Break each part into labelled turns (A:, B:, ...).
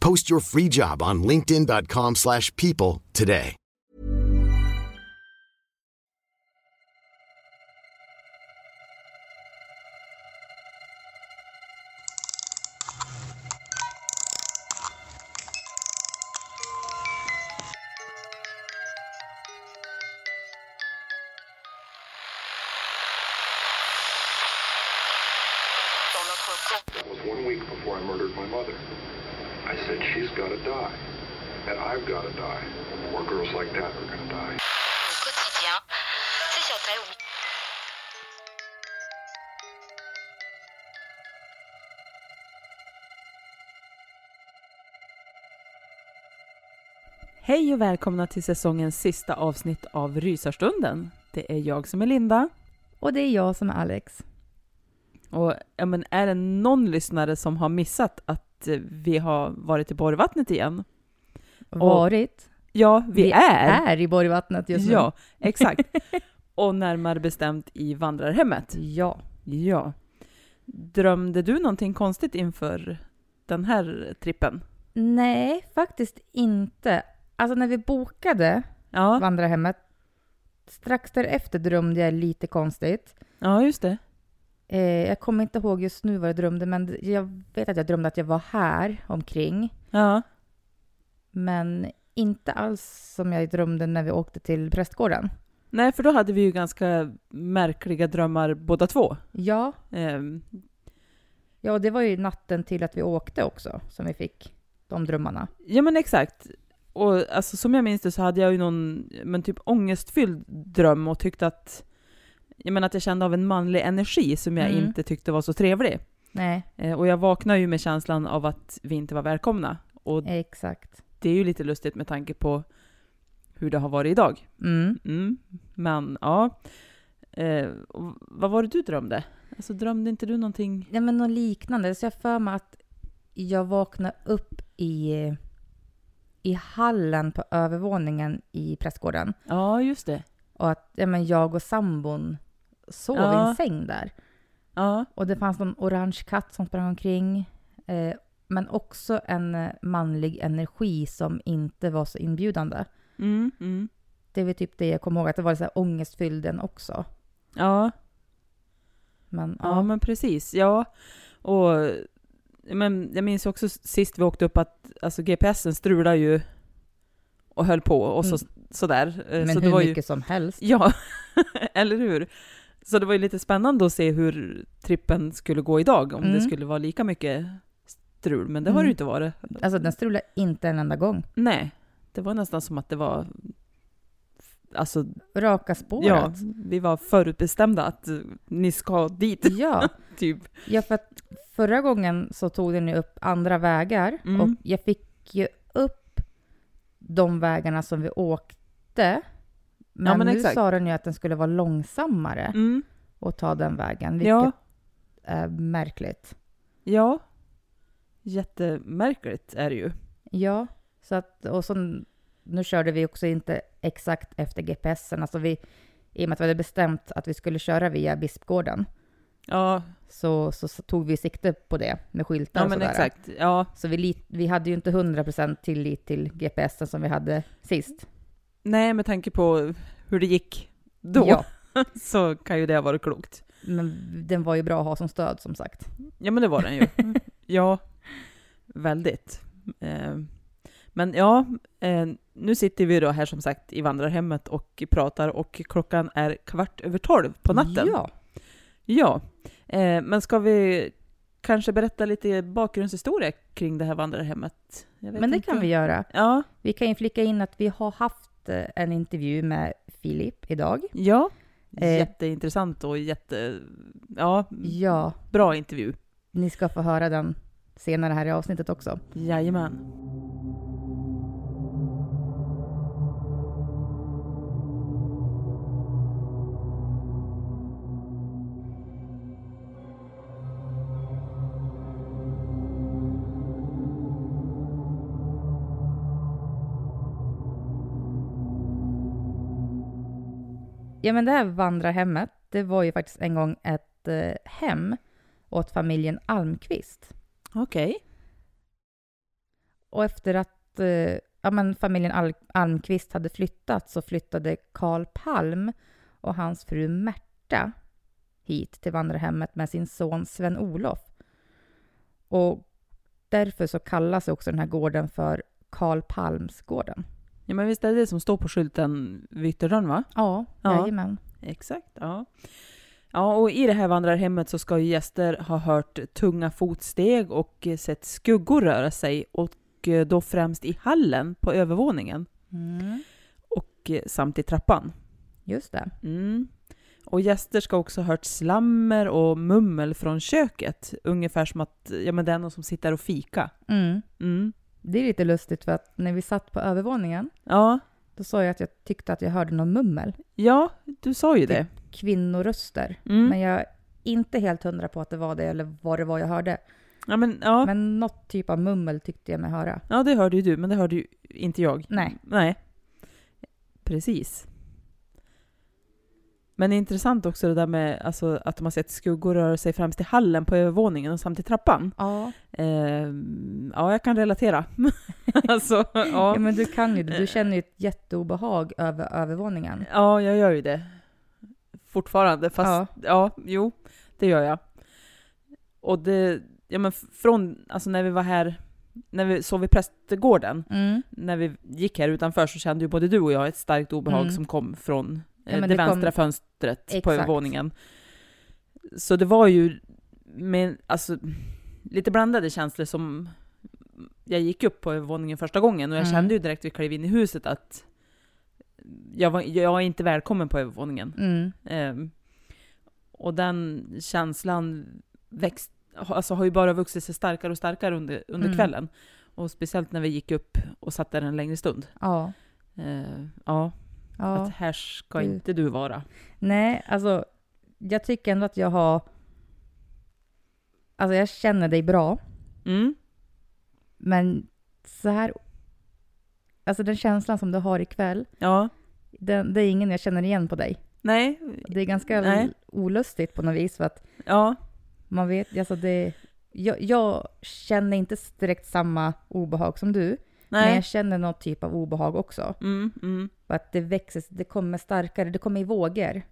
A: Post your free job on linkedin.com/people slash people today.
B: It was one week before I murdered my mother. I said, she's got to die. And I've got to die. And more girls like that are going to die.
C: au quotidien. C'est sur ta oui.
D: Hej och välkomna till säsongens sista avsnitt av Rysarstunden. Det är jag som är Linda.
E: Och det är jag som är Alex.
D: Och ja, men är det någon lyssnare som har missat att eh, vi har varit i Borgvattnet igen?
E: Varit.
D: Ja, vi, är!
E: Är i Borgvattnet just nu.
D: Ja, exakt. och närmare bestämt i vandrarhemmet.
E: Ja.
D: Ja. Drömde du någonting konstigt inför den här trippen?
E: Nej, faktiskt inte. Alltså när vi bokade
D: Ja,
E: vandrarhemmet, strax därefter drömde jag lite konstigt.
D: ja just det.
E: Eh, jag kommer inte ihåg just nu vad jag drömde, men jag vet att jag drömde att jag var här omkring.
D: Ja,
E: Men inte alls som jag drömde när vi åkte till prästgården.
D: nej för då hade vi ju ganska märkliga drömmar båda två.
E: Ja,
D: Ehm,
E: ja och det var ju natten till att vi åkte också som vi fick de drömmarna.
D: Ja men exakt. Och alltså, som jag minns det så hade jag ju någon men typ ångestfylld dröm och tyckte att jag menar att jag kände av en manlig energi som jag
E: Mm.
D: inte tyckte var så trevlig.
E: Nej,
D: Eh, och jag vaknade ju med känslan av att vi inte var välkomna. Och
E: exakt.
D: det är ju lite lustigt med tanke på hur det har varit idag.
E: Mm.
D: Mm. Men ja. Eh, och vad var det du drömde? Alltså drömde inte du någonting?
E: Ja, men något liknande. Så jag för mig att jag vaknade upp i, i hallen på övervåningen i prästgården.
D: Ja just det.
E: Och att ja, men jag och sambon sov i
D: Ja.
E: en säng där.
D: Ja.
E: Och det fanns någon orange katt som sprang omkring. Eh, men också en eh, manlig energi som inte var så inbjudande.
D: Mm, mm.
E: Det var typ det jag kommer ihåg, att det var så här ångestfylld den också.
D: Ja.
E: Men ja,
D: Ja, men precis. Ja. Och, men jag minns också sist vi åkte upp att alltså, GPSen strulade ju och höll på och så, sådär. Eh,
E: Mm. men
D: så
E: hur
D: det var
E: mycket
D: Ju,
E: som helst.
D: ja, eller hur? Så det var ju lite spännande att se hur trippen skulle gå idag, om det
E: Mm.
D: skulle vara lika mycket strul, men det har det ju
E: Mm.
D: inte varit.
E: Alltså den strulade inte en enda gång.
D: Nej, det var nästan som att det var Alltså,
E: Raka spåret.
D: ja, vi var förutbestämda att eh, ni ska dit,
E: ja.
D: typ.
E: Ja, för att förra gången så tog den ju upp andra vägar
D: Mm.
E: och jag fick ju upp de vägarna som vi åkte. Men,
D: men
E: nu
D: exakt.
E: sa den ju att den skulle vara långsammare
D: Mm,
E: och ta den vägen, vilket
D: ja.
E: är märkligt.
D: Ja. Jättemärkligt är det ju.
E: Ja, så att, och så nu körde vi också inte exakt efter GPSen. Alltså vi, I och med att vi hade bestämt att vi skulle köra via Bispgården
D: Ja,
E: så, så, så tog vi sikte på det med skyltar
D: ja
E: och
D: men
E: sådär.
D: exakt. Ja.
E: Så vi, lit, vi hade ju inte 100% tillit till GPSen som vi hade sist.
D: Nej, med tanke på hur det gick då
E: Ja,
D: så kan ju det ha varit klokt.
E: men den var ju bra att ha som stöd som sagt.
D: Ja, men det var den ju. ja, väldigt. Eh, Men ja, eh, nu sitter vi då här som sagt i vandrarhemmet och pratar och klockan är kvart över tolv på natten.
E: Ja,
D: Ja, eh, men ska vi kanske berätta lite bakgrundshistoria kring det här vandrarhemmet? Jag vet
E: men det
D: inte.
E: kan vi göra.
D: Ja,
E: Vi kan ju flika in att vi har haft eh, en intervju med Filip idag.
D: ja.
E: Eh.
D: jätteintressant och jätte... Ja,
E: Ja,
D: bra intervju.
E: ni ska få höra den senare här i avsnittet också.
D: Jajamän.
E: Ja, men det här vandrarhemmet, det var ju faktiskt en gång ett eh, hem åt familjen Almqvist.
D: Okej.
E: Och efter att eh, ja, men familjen Al- Almqvist hade flyttat så flyttade Karl Palm och hans fru Märta hit till vandrarhemmet med sin son Sven-Olof. Och därför så kallas också den här gården för Karl Palmsgården.
D: Ja, men visst är det det som står på skylten vid ytterdörren, va?
E: Ja,
D: Ja.
E: jajamän.
D: Exakt, ja. Ja, och i det här vandrarhemmet så ska ju gäster ha hört tunga fotsteg och eh, sett skuggor röra sig och eh, då främst i hallen på övervåningen
E: Mm.
D: och eh, samt i trappan.
E: Just det.
D: Mm. Och gäster ska också ha hört slammer och mummel från köket, ungefär som att ja, men det är någon som sitter och fika.
E: Mm.
D: Mm.
E: Det är lite lustigt för att när vi satt på övervåningen
D: Ja,
E: då sa jag att jag tyckte att jag hörde någon mummel.
D: ja, du sa ju det.
E: Kvinnoröster.
D: Typ. Mm.
E: Men jag är inte helt hundra på att det var det eller vad det var jag hörde.
D: Ja, men, ja.
E: Men något typ av mummel tyckte jag mig höra.
D: ja, det hörde ju du, men det hörde ju inte jag.
E: Nej.
D: Nej. Precis. Men det är intressant också det där med alltså, att de har sett skuggor röra sig främst i hallen på övervåningen och samt i trappan.
E: Ja.
D: Ehm, ja, jag kan relatera. alltså,
E: ja,
D: ja.
E: men du kan ju det. Du känner ju ett jätteobehag över övervåningen.
D: ja, jag gör ju det. Fortfarande, fast ja, jo, det gör jag. Och det, ja men från, alltså när vi var här, när vi sov i prästgården,
E: Mm.
D: när vi gick här utanför så kände ju både du och jag ett starkt obehag
E: Mm.
D: som kom från eh,
E: Ja,
D: det,
E: men det kom-
D: vänstra fönstret på
E: Exakt.
D: övervåningen. Så det var ju med, alltså, lite blandade känslor som... Jag gick upp på övervåningen första gången och jag
E: Mm.
D: kände ju direkt vi klev in i huset att jag, var, jag är inte välkommen på övervåningen.
E: Mm.
D: Ehm, och den känslan växt, alltså har ju bara vuxit sig starkare och starkare under, under
E: Mm.
D: kvällen. Och speciellt när vi gick upp och satt där en längre stund.
E: Ja.
D: Ehm, ja,
E: ja.
D: att här ska
E: Det-
D: inte du vara.
E: Nej, alltså jag tycker ändå att jag har... Alltså jag känner dig bra,
D: Mm.
E: men så här... Alltså den känslan som du har ikväll,
D: Ja,
E: den, det är ingen jag känner igen på dig.
D: nej,
E: Det är ganska
D: Nej.
E: olustigt på något vis för att
D: ja,
E: Man vet, alltså det... Jag, jag känner inte direkt samma obehag som du, men
D: nej.
E: jag känner någon typ av obehag också.
D: Mm, mm.
E: För att det växer, det kommer starkare, det kommer i vågor.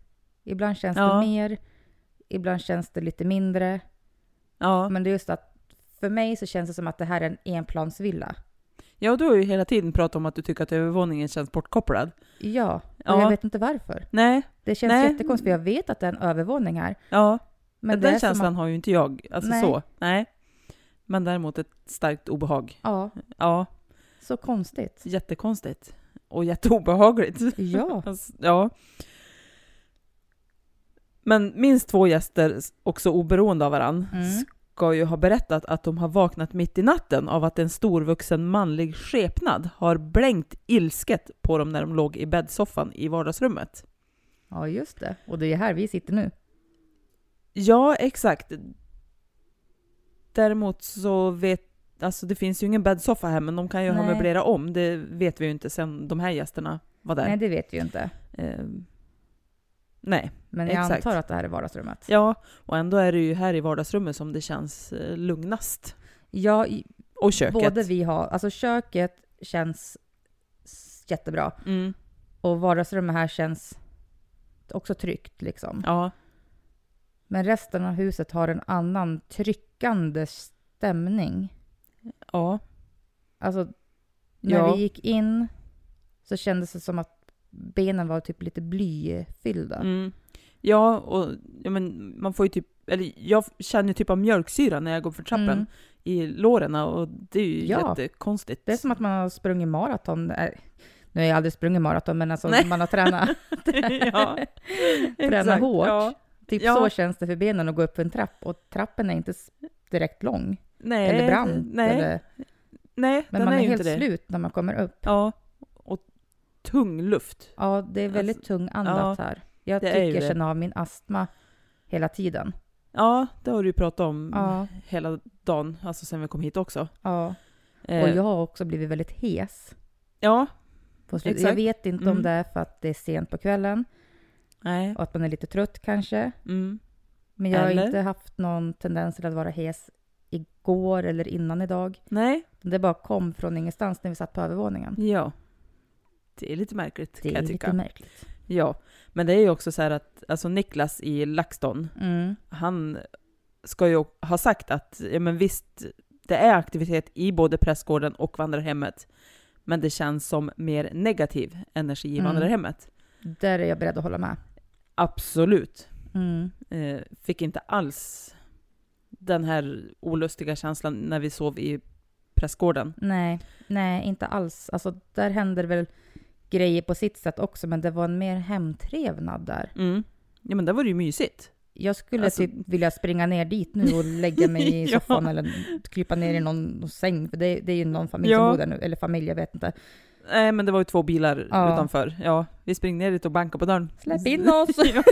E: Ibland känns
D: Ja.
E: det mer, ibland känns det lite mindre.
D: Ja.
E: Men det är just att för mig så känns det som att det här är en enplansvilla.
D: ja, du har ju hela tiden pratat om att du tycker att övervåningen känns bortkopplad.
E: Ja, och
D: Ja.
E: jag vet inte varför.
D: Nej,
E: Det känns
D: Nej.
E: jättekonstigt, för jag vet att det är en övervåning här.
D: ja,
E: Men det
D: den
E: är som
D: känslan
E: att,
D: har ju inte jag. Alltså
E: Nej.
D: så, nej. Men däremot ett starkt obehag.
E: Ja,
D: Ja,
E: så konstigt.
D: jättekonstigt. Och jätteobehagligt.
E: Ja.
D: Alltså, ja. Men minst två gäster, också oberoende av varann,
E: Mm.
D: ska ju ha berättat att de har vaknat mitt i natten av att en storvuxen manlig skepnad har blänkt ilsket på dem när de låg i bäddsoffan i vardagsrummet.
E: Ja, just det. Och det är här vi sitter nu.
D: Ja, exakt. Däremot så vet alltså det finns ju ingen bäddsoffa här, men de kan ju ha
E: Nej.
D: möblera om. Det vet vi ju inte sen de här gästerna var där.
E: Nej,
D: Nej.
E: det vet vi ju inte.
D: Eh, nej.
E: Men jag
D: Exakt.
E: antar att det här är vardagsrummet.
D: Ja, och ändå är det ju här i vardagsrummet som det känns eh, lugnast.
E: Ja, i-
D: Och köket.
E: både vi har... Alltså köket känns s- jättebra.
D: Mm,
E: Och vardagsrummet här känns också tryggt liksom.
D: ja,
E: Men resten av huset har en annan tryckande stämning.
D: ja.
E: Alltså, när
D: Ja.
E: vi gick in så kändes det som att benen var typ lite blyfyllda.
D: Mm. Ja, och ja, men man får ju typ, eller jag känner ju typ av mjölksyra när jag går för trappen
E: Mm.
D: i låren och det är ju
E: Ja.
D: jättekonstigt.
E: Det är som att man har sprungit maraton. Nej, Nu har jag aldrig sprungit maraton, men alltså
D: Nej.
E: man har tränat,
D: ja,
E: tränat
D: exakt.
E: hårt.
D: Ja.
E: Typ
D: Ja.
E: så känns det för benen att gå upp för en trapp. Och trappen är inte s- direkt lång
D: Nej,
E: eller brant.
D: Nej,
E: eller,
D: nej
E: men
D: den
E: man
D: är,
E: är,
D: ju
E: helt
D: inte det.
E: slut när man kommer upp.
D: Ja, och tung luft.
E: Ja, det är väldigt tung andat här. Jag
D: alltså, det är ju
E: tycker
D: det.
E: jag känner av min astma hela tiden.
D: Ja, det har du ju pratat om
E: Ja.
D: hela dagen, alltså sen vi kom hit också.
E: Ja.
D: Eh,
E: Och jag har också blivit väldigt hes.
D: Ja,
E: På slutet.
D: Exakt.
E: Jag vet inte
D: Mm.
E: om det är för att det är sent på kvällen
D: nej.
E: och att man är lite trött kanske.
D: Mm.
E: Men jag
D: Eller?
E: har inte haft någon tendens till att vara hes igår eller innan idag.
D: Nej,
E: Det bara kom från ingenstans när vi satt på övervåningen.
D: ja. Det är lite märkligt
E: Det
D: kan
E: är
D: jag tycka.
E: lite märkligt.
D: Ja, men det är ju också så här att alltså Niklas i LaxTon,
E: Mm.
D: han ska ju ha sagt att ja, men visst, det är aktivitet i både prästgården och vandrarhemmet, men det känns som mer negativ energi i
E: Mm.
D: vandrarhemmet.
E: Där är jag beredd att hålla med.
D: Absolut.
E: Mm.
D: Eh, fick inte alls den här olustiga känslan när vi sov i prästgården.
E: Nej, nej, inte alls. Alltså, där händer väl grejer på sitt sätt också, men det var en mer hemtrevnad där.
D: Mm. Ja, men där var det ju mysigt.
E: Jag skulle
D: Alltså-
E: typ vilja springa ner dit nu och lägga mig i
D: Ja.
E: soffan eller krypa ner i någon säng. För det, det är ju någon familj
D: Ja.
E: som bor där nu, eller familj, jag vet inte.
D: Nej, men det var ju två bilar
E: Ja.
D: utanför. Ja, vi springer ner dit och bankar på dörren.
E: Släpp in oss!
D: ja,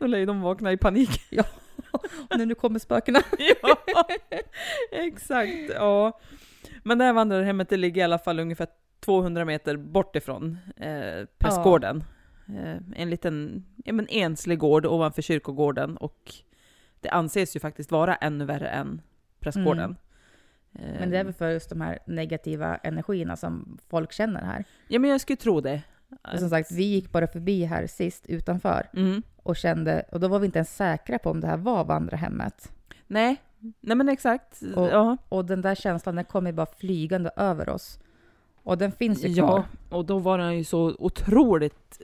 D: då lär ju de vakna i panik.
E: nu, nu kommer spökena.
D: ja, exakt. Ja. Men det här vandrarhemmet det ligger i alla fall ungefär 200 meter bort ifrån eh, prästgården. Eh, en liten ja, men enslig gård ovanför kyrkogården och det anses ju faktiskt vara ännu värre än prästgården. Eh,
E: Mm. Men det är väl för just de här negativa energierna som folk känner här.
D: Ja men jag skulle tro det.
E: Och som sagt, vi gick bara förbi här sist utanför
D: Mm.
E: och kände, och då var vi inte ens säkra på om det här var vandrarhemmet.
D: Nej. Nej men exakt.
E: Och-
D: ja.
E: Och den där känslan, den kom ju bara flygande över oss. Och den finns ju
D: Ja,
E: kvar.
D: och då var den ju så otroligt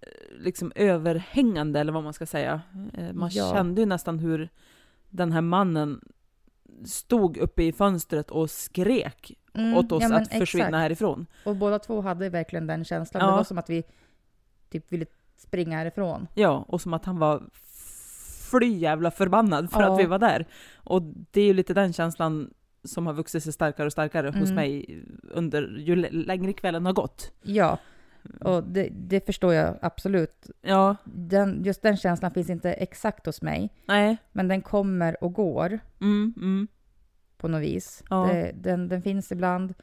D: eh, liksom överhängande eller vad man ska säga. Eh, Man
E: Ja.
D: kände ju nästan hur den här mannen stod uppe i fönstret och skrek
E: Mm,
D: åt oss
E: ja, men
D: att försvinna
E: exakt.
D: härifrån.
E: Och båda två hade verkligen den känslan.
D: Ja.
E: Det var som att vi typ ville springa härifrån.
D: Ja, och som att han var fly jävla förbannad för
E: Ja.
D: att vi var där. Och det är ju lite den känslan som har vuxit sig starkare och starkare hos
E: Mm.
D: mig under ju l- längre kvällen har gått.
E: Ja, och det, det förstår jag absolut.
D: Ja,
E: Den, just den känslan finns inte exakt hos mig,
D: nej,
E: men den kommer och går
D: mm, mm,
E: på något vis.
D: Ja.
E: Det, den, den finns ibland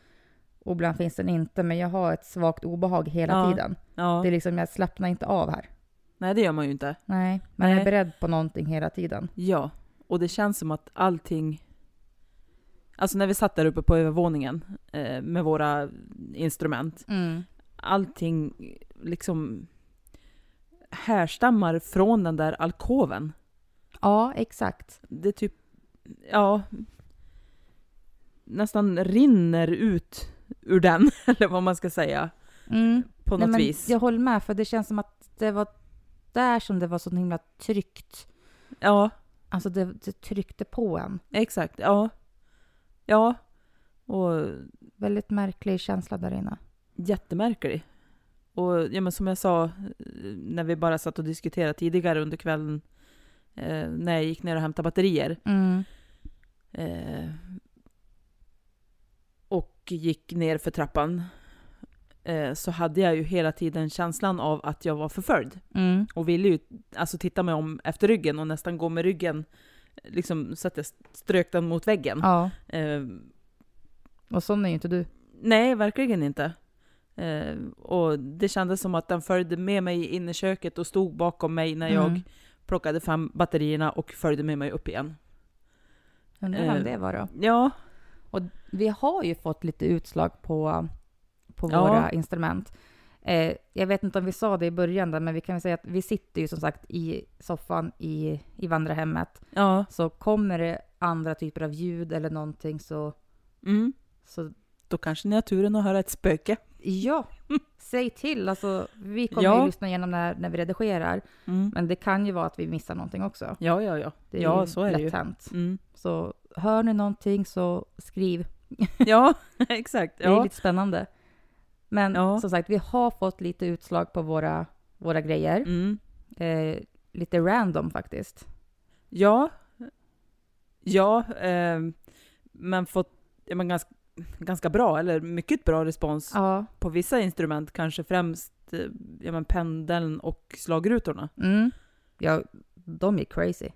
E: och ibland finns den inte, men jag har ett svagt obehag hela
D: Ja.
E: tiden.
D: ja.
E: Det är liksom, jag slappnar inte av här.
D: Nej, det gör man ju inte.
E: Nej, man är
D: Nej.
E: beredd på någonting hela tiden.
D: Ja, och det känns som att allting... Alltså när vi satt där uppe på övervåningen eh, med våra instrument,
E: Mm.
D: allting liksom härstammar från den där alkoven.
E: Ja, exakt.
D: Det typ, ja, nästan rinner ut ur den, eller vad man ska säga,
E: Mm.
D: på
E: Nej,
D: något
E: men
D: vis.
E: Jag håller med, för det känns som att det var där som det var så himla tryggt.
D: Ja,
E: Alltså det, det tryckte på en.
D: exakt, ja. Ja, och
E: Väldigt märklig känsla där inne.
D: jättemärklig. Och ja, men som jag sa eh, när vi bara satt och diskuterade tidigare under kvällen eh, när jag gick ner och hämtade batterier
E: Mm.
D: eh, och gick ner för trappan eh, så hade jag ju hela tiden känslan av
E: Mm.
D: att jag var förföljd och ville ju alltså titta mig om efter ryggen och nästan gå med ryggen liksom så att jag strök den mot väggen.
E: Ja,
D: Eh,
E: och sån är ju inte du.
D: nej, verkligen inte. Eh, och det kändes som att den följde med mig in i köket och stod bakom mig när jag
E: Mm.
D: plockade fram batterierna och följde med mig upp igen.
E: Undrar vem
D: Eh,
E: det var då?
D: Ja,
E: Och vi har ju fått lite utslag på, på
D: Ja.
E: våra instrument. Eh, jag vet inte om vi sa det i början, där, men vi kan väl säga att vi sitter ju som sagt i soffan i, i vandrarhemmet.
D: ja,
E: Så kommer det andra typer av ljud eller någonting så,
D: mm.
E: så
D: då kanske ni har turen att höra ett spöke.
E: ja, säg till. Alltså, vi kommer
D: Ja.
E: ju lyssna igenom när, när vi redigerar, men det kan ju vara att vi missar någonting också.
D: Ja, ja, ja.
E: Det är
D: Mm. ja,
E: ju
D: så är det
E: lätt
D: ju.
E: hänt.
D: Mm.
E: Så hör ni någonting så skriv.
D: Ja, exakt.
E: Det är
D: Ja.
E: lite spännande. Men
D: Ja.
E: som sagt, vi har fått lite utslag på våra, våra grejer.
D: Mm.
E: Eh, lite random faktiskt.
D: Ja. Ja, ehm, men fått ja, men ganska, ganska bra, eller mycket bra respons
E: Ja.
D: på vissa instrument, kanske främst eh, ja, men pendeln och slagrutorna.
E: Mm. ja de är crazy.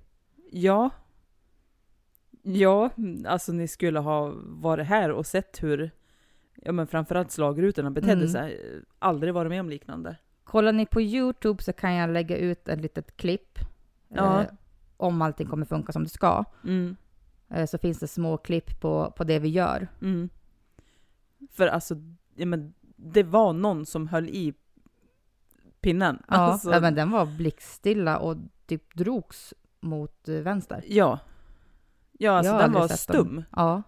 D: Ja. Ja, alltså ni skulle ha varit här och sett hur ja, men framförallt slagrutorna betedde
E: Mm.
D: sig. eh, Aldrig varit med om liknande.
E: Kollar ni på YouTube så kan jag lägga ut ett litet klipp. eh,
D: Ja.
E: om allting kommer funka som det ska.
D: Mm.
E: Eh, så finns det små klipp på, på det vi gör.
D: Mm. För alltså, ja, men det var någon som höll i pinnen.
E: Ja,
D: alltså,
E: ja men den var blickstilla och typ drogs mot eh, vänster.
D: ja. Ja, alltså
E: Jag har
D: den
E: aldrig
D: var
E: sett
D: stum.
E: Ja.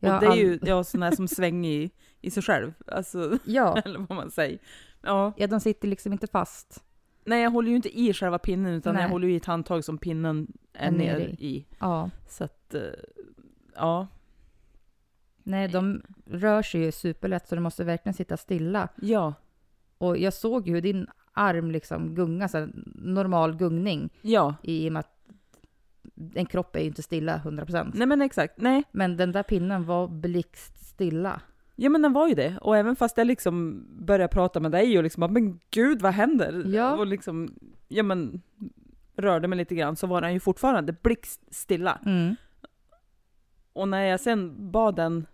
E: Jag
D: Och det är
E: har
D: ju
E: ald-
D: ja, sån här som svänger i, i sig själv. Alltså,
E: ja.
D: eller vad man säger. Ja.
E: ja, de sitter liksom inte fast.
D: Nej, jag håller ju inte i själva pinnen, utan
E: Nej.
D: jag håller ju i ett handtag som pinnen är
E: Är
D: ner
E: ner
D: i.
E: Ja.
D: Så att, eh, ja.
E: Nej, de rör sig ju superlätt så de måste verkligen sitta stilla.
D: Ja.
E: Och jag såg ju hur din arm liksom gunga, så här, normal gungning
D: Ja.
E: i och med att en kropp är ju inte stilla 100%.
D: Nej men exakt. Nej,
E: Men den där pinnen var blixtstilla.
D: Ja men den var ju det. Och även fast jag liksom började prata med dig och liksom bara, men gud vad händer?
E: Ja.
D: Och liksom, ja men rörde mig lite grann så var den ju fortfarande blixtstilla.
E: Mm.
D: Och när jag sen bad den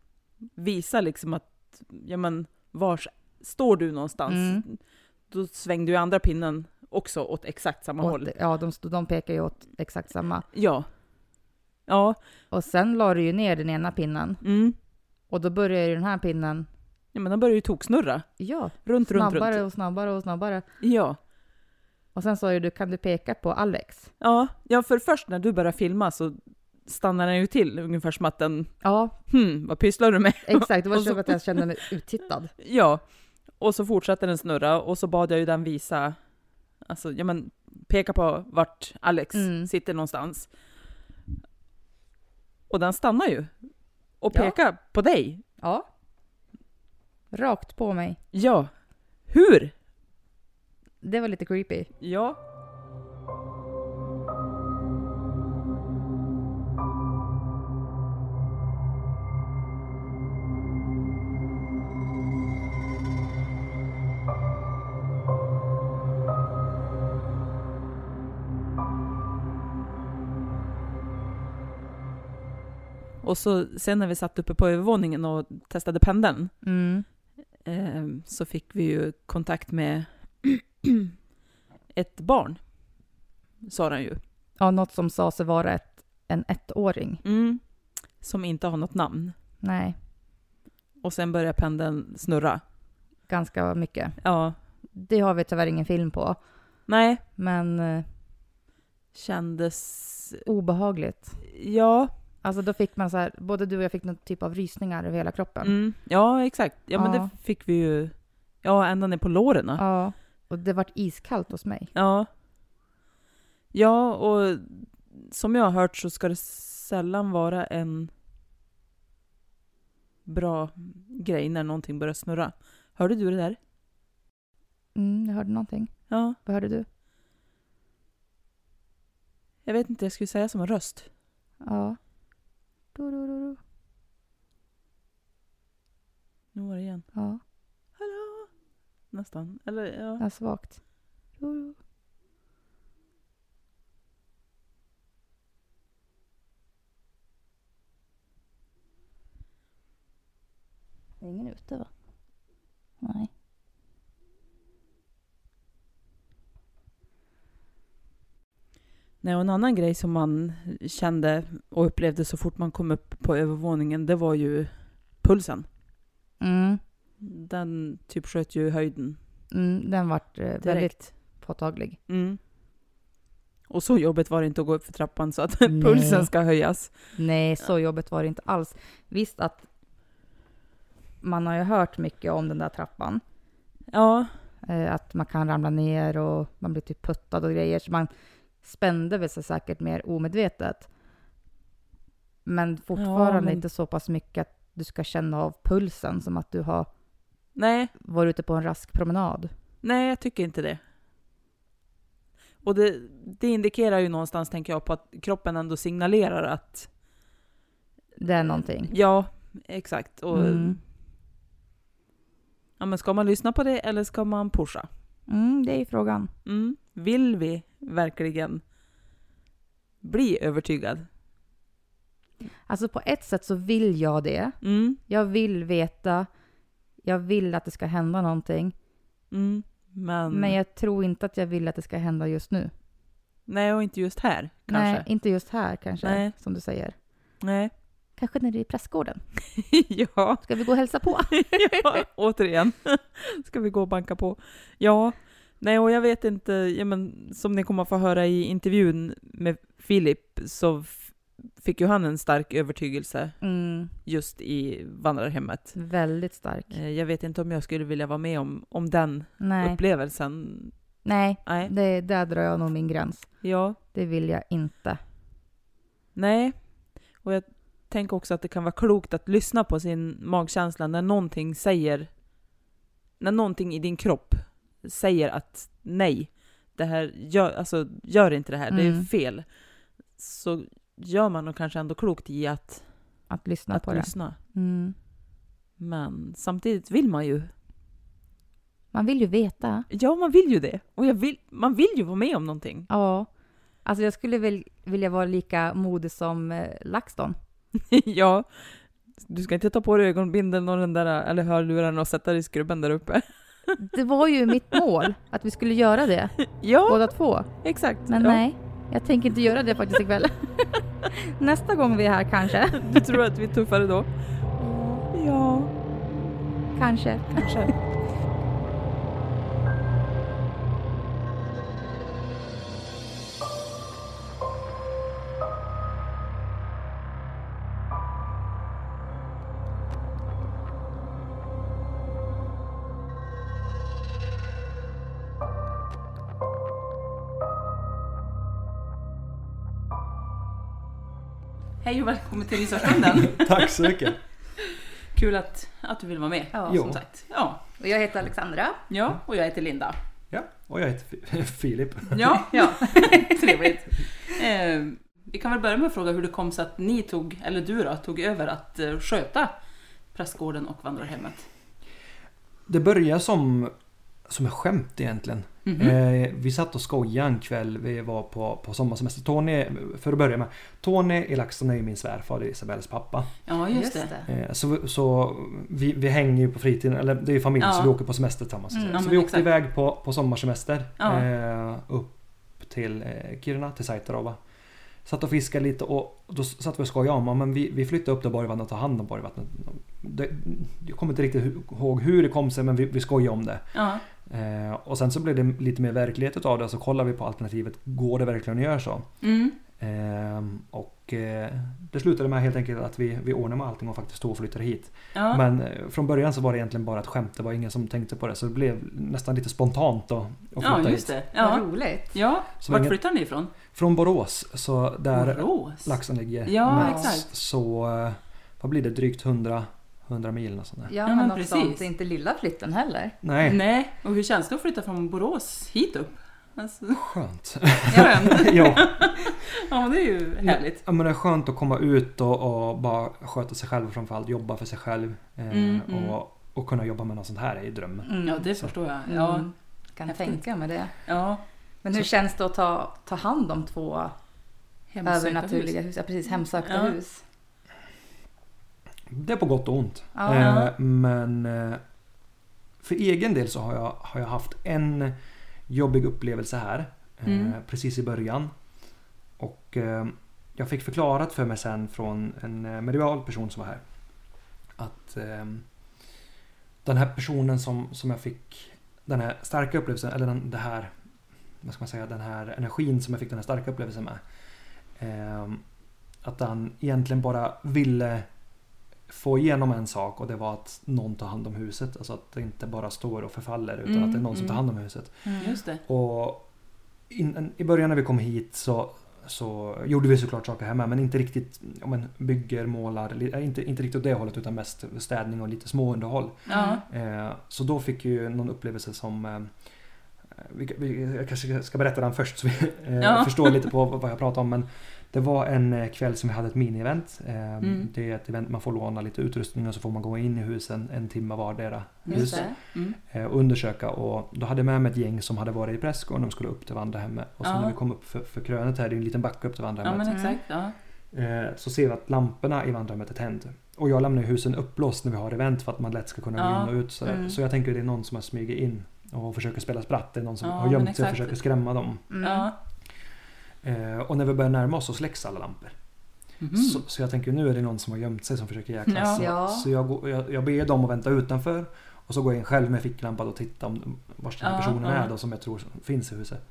D: visa liksom att, ja men vars står du någonstans?
E: Mm.
D: Då svängde ju andra pinnen också åt exakt samma
E: Åt-
D: håll.
E: ja, de, stod, de pekar ju åt exakt samma.
D: Ja. Ja.
E: Och sen la du ju ner den ena pinnen
D: Mm.
E: och då börjar ju den här pinnen,
D: Ja men den började ju toksnurra.
E: ja,
D: Runt, runt,
E: snabbare
D: runt.
E: och snabbare och snabbare.
D: Ja.
E: Och sen sa ju du, kan du peka på Alex?
D: Ja. ja, för först när du började filma så stannade den ju till ungefär som att den
E: Ja,
D: hmm, vad pysslar du med?
E: exakt. Det var
D: Och så-
E: så att jag kände mig uttittad.
D: Ja. Och så fortsatte den snurra och så bad jag ju den visa, alltså ja men peka på vart Alex
E: Mm.
D: sitter någonstans. Och den stannar ju. Och
E: Ja.
D: pekar på dig.
E: Ja. Rakt på mig.
D: Ja. Hur?
E: Det var lite creepy.
D: Ja. Och så sen när vi satt uppe på övervåningen och testade pendeln
E: Mm.
D: eh, så fick vi ju kontakt med ett barn. Sa den ju.
E: Ja, något som sa sig vara ett, en ettåring.
D: Som inte har något namn.
E: Nej,
D: Och sen börjar pendeln snurra.
E: ganska mycket.
D: Ja.
E: Det har vi tyvärr ingen film på,
D: Nej.
E: men eh,
D: Kändes...
E: obehagligt.
D: Ja.
E: Alltså då fick man så här, både du och jag fick någon typ av rysningar över hela kroppen.
D: Mm. Ja, exakt. Ja, men
E: Ja.
D: det fick vi ju. Ja, ända ner på låren. Ja.
E: Ja, och det vart iskallt hos mig.
D: ja. Ja, och som jag har hört så ska det sällan vara en bra grej när någonting börjar snurra. Hörde du det där?
E: Mm, jag hörde någonting.
D: Ja.
E: Vad hörde du?
D: Jag vet inte, jag skulle säga som en röst.
E: Ja. Du, du, du, du.
D: Nu var det igen.
E: Ja,
D: Hallå? Nästan. Eller ja.
E: ja svagt. Du, du.
F: det var? Nej.
D: Nej, och en annan grej som man kände och upplevde så fort man kom upp på övervåningen, det var ju pulsen.
E: Mm.
D: Den typ sköt ju i höjden
E: Mm, den vart eh, väldigt
D: direkt.
E: påtaglig.
D: Mm. Och så jobbigt var det inte att gå upp för trappan så att
E: Nej.
D: pulsen ska höjas.
E: Nej, så jobbigt var det inte alls. Visst att man har ju hört mycket om den där trappan.
D: Ja,
E: Eh, att man kan ramla ner och man blir typ puttad och grejer. Så man spände väl sig säkert mer omedvetet. Men fortfarande
D: men-
E: inte så pass mycket att du ska känna av pulsen som att du har
D: nej,
E: varit ute på en rask promenad.
D: nej jag tycker inte det. Och det, det indikerar ju någonstans, tänker jag, på att kroppen ändå signalerar att
E: Det är någonting.
D: ja, exakt. Och,
E: Mm.
D: ja, men ska man lyssna på det eller ska man pusha?
E: Mm, det är ju frågan.
D: Mm. Vill vi verkligen bli övertygad?
E: Alltså på ett sätt så vill jag det.
D: Mm.
E: Jag vill veta. Jag vill att det ska hända någonting.
D: Mm. Men,
E: Men jag tror inte att jag vill att det ska hända just nu.
D: nej, och inte just här kanske.
E: Nej, inte just här kanske,
D: Nej.
E: som du säger.
D: Nej.
E: Kanske när det är i prästgården.
D: ja.
E: Ska vi gå och hälsa på?
D: ja, återigen. Ska vi gå och banka på? Ja. Nej, och jag vet inte, ja, men, som ni kommer att få höra i intervjun med Filip så f- fick ju han en stark övertygelse
E: Mm,
D: just i vandrarhemmet.
E: väldigt stark.
D: Eh, Jag vet inte om jag skulle vilja vara med om, om den
E: Nej,
D: upplevelsen.
E: nej.
D: Nej.
E: Det, där drar jag nog min gräns.
D: Ja.
E: Det vill jag inte.
D: Nej, och jag tänker också att det kan vara klokt att lyssna på sin magkänsla när någonting säger, när någonting i din kropp säger att nej, det här, gör, alltså, gör inte det här, det är
E: Mm.
D: fel. Så gör man nog kanske ändå klokt i att,
E: Att lyssna
D: att
E: på det.
D: lyssna.
E: Mm.
D: Men samtidigt vill man ju,
E: Man vill ju veta.
D: ja man vill ju det. Och jag vill, man vill ju vara med om någonting.
E: Ja. Alltså jag skulle väl vilja vara lika modig som eh, LaxTon.
D: ja. Du ska inte ta på dig ögonbindeln och den där, eller hörlurarna och sätta dig i skrubben där uppe.
E: Det var ju mitt mål, att vi skulle göra det,
D: ja,
E: båda två.
D: exakt.
E: Men
D: ja.
E: nej, jag tänker inte göra det faktiskt ikväll. Nästa gång vi är här kanske.
D: Du tror att vi är tuffare då? Ja,
E: Kanske.
D: kanske. Hej och välkommen till Risarstunden.
A: Tack så mycket.
D: Kul att, att du vill vara med.
E: Ja.
A: Jo.
D: Sagt. Ja.
E: Och jag heter Alexandra.
D: ja, och jag heter Linda.
A: Ja, och jag heter Fi- Filip.
D: Ja, ja. trevligt. Eh, vi kan väl börja med att fråga hur det kom sig att ni tog, eller du då, tog över att eh, sköta prästgården och vandrarhemmet.
A: Det började som, som ett skämt egentligen. Eh, vi satt och skojade en kväll. Vi var på, på sommarsemester. Tony, för att börja med. Tony i LaxTon är ju min svärfar, det är Isabellas pappa.
D: Ja, just, det.
A: Eh, så så vi, vi hänger ju på fritiden, eller det är ju familj så
D: Ja.
A: vi åker på semester tillsammans.
E: Mm,
D: ja,
A: så
D: men
A: vi åkte
D: exakt.
A: iväg på, på sommarsemester.
D: Ja.
A: Eh, upp till eh, Kiruna, till Saitarawa. Satt och fiskade lite och då s- satt vi och skojade om ja, men vi, vi flyttar upp till Borgvattnet och tar hand om Borgvattnet. Det, jag kommer inte riktigt hu- ihåg hur det kom sig men vi, vi skojade om det.
D: Ja,
A: Eh, och sen så blev det lite mer verklighet utav det så kollar vi på alternativet. Går det verkligen att göra så?
D: mm.
A: Ehm, och eh, det slutade med helt enkelt att vi, vi ordnade med allting och faktiskt tog och flyttade hit.
D: ja.
A: Men eh, från början så var det egentligen bara ett skämt. Det var ingen som tänkte på det. Så det blev nästan lite spontant då, att flytta
D: ja just
A: hit.
D: det. Ja.
E: roligt.
D: Ja,
A: Så
D: vart
A: ingen-
D: flyttar ni ifrån?
A: Från Borås, så där
D: Borås?
A: laxen ligger.
D: Ja,
A: med,
D: exakt.
A: Så eh, vad blir det? Drygt 100, 100 mil eller sånt där.
E: Ja,
D: men
E: men något
D: precis.
E: sånt. Det är inte lilla flytten heller.
A: Nej,
D: Nej, och hur känns det att flytta från Borås hit upp? Alltså,
A: skönt.
D: skönt.
A: ja.
D: Ja, men det är ju härligt.
A: ja, men det är skönt att komma ut och, och bara sköta sig själv och framförallt jobba för sig själv. Eh,
D: Mm, mm.
A: Och, och kunna jobba med något sånt här är ju drömmen.
D: Ja, det förstår jag. Ja,
E: Mm. Kan
D: Häftigt.
E: tänka mig det.
D: ja.
E: Men hur känns det att ta, ta hand om två
D: Hemsökta hus.
E: övernaturliga hus? Ja, precis. Hemsökta
D: Ja.
E: hus.
B: Det är på gott och ont.
G: Ja.
B: Eh, men eh, för egen del så har jag, har jag haft en jobbig upplevelse här.
D: Mm.
B: Eh, precis i början. Och eh, jag fick förklarat för mig sen från en eh, medial person som var här. Att eh, den här personen som, som jag fick den här starka upplevelsen, eller den, det här, vad ska man säga, den här energin som jag fick den här starka upplevelsen med. Eh, att han egentligen bara ville få igenom en sak och det var att någon tar hand om huset. Alltså att det inte bara står och förfaller utan
D: Mm,
B: att det är någon som
D: mm.
B: tar hand om huset. eh,
D: Just det.
B: Och in, I början när vi kom hit så, så gjorde vi såklart saker hemma men inte riktigt ja, men bygger, målar, li- eh, inte, inte riktigt åt det hållet utan mest städning och lite småunderhåll.
D: Ja.
B: Eh, så då fick ju någon upplevelse som eh, vi, vi, jag kanske ska berätta den först så vi eh,
D: Ja.
B: förstår lite på vad jag pratar om. Men det var en eh, kväll som vi hade ett mini-event. Eh,
D: Mm.
B: Det är ett event man får låna lite utrustning och så får man gå in i husen en timme vardera.
D: Just
B: hus
D: det. Mm.
B: eh, och undersöka och då hade jag med mig ett gäng som hade varit i Prästgården de skulle upp till Vandrahemmet. Och sen
D: Ja.
B: när vi kom upp för, för krönet här, det är en liten backe upp till
D: Ja
B: Vandrahemmet.
D: men exakt. Ja.
B: eh, så ser vi att lamporna i Vandrahemmet är tänd. Och jag lämnar ju husen uppblåst när vi har event för att man lätt ska kunna
D: Ja.
B: gå in och ut. sådär.
D: Mm.
B: Så jag tänker att det är någon som har smugit in och försöker spela spratt. Det är någon som
D: Ja,
B: har gömt
D: men
B: sig och
D: exakt.
B: försöker skrämma dem.
D: Ja.
B: Eh, och när vi börjar närma oss så släcks alla lampor.
D: Mhm.
B: Så, så jag tänker nu är det någon som har gömt sig som försöker jäklas.
D: Ja.
B: Så,
H: Ja.
B: så jag, går, jag, jag ber dem att vänta utanför. Och så går jag in själv med ficklampan och tittar om vars den här
D: Ja,
B: personen
D: ja.
B: är då som jag tror finns i huset.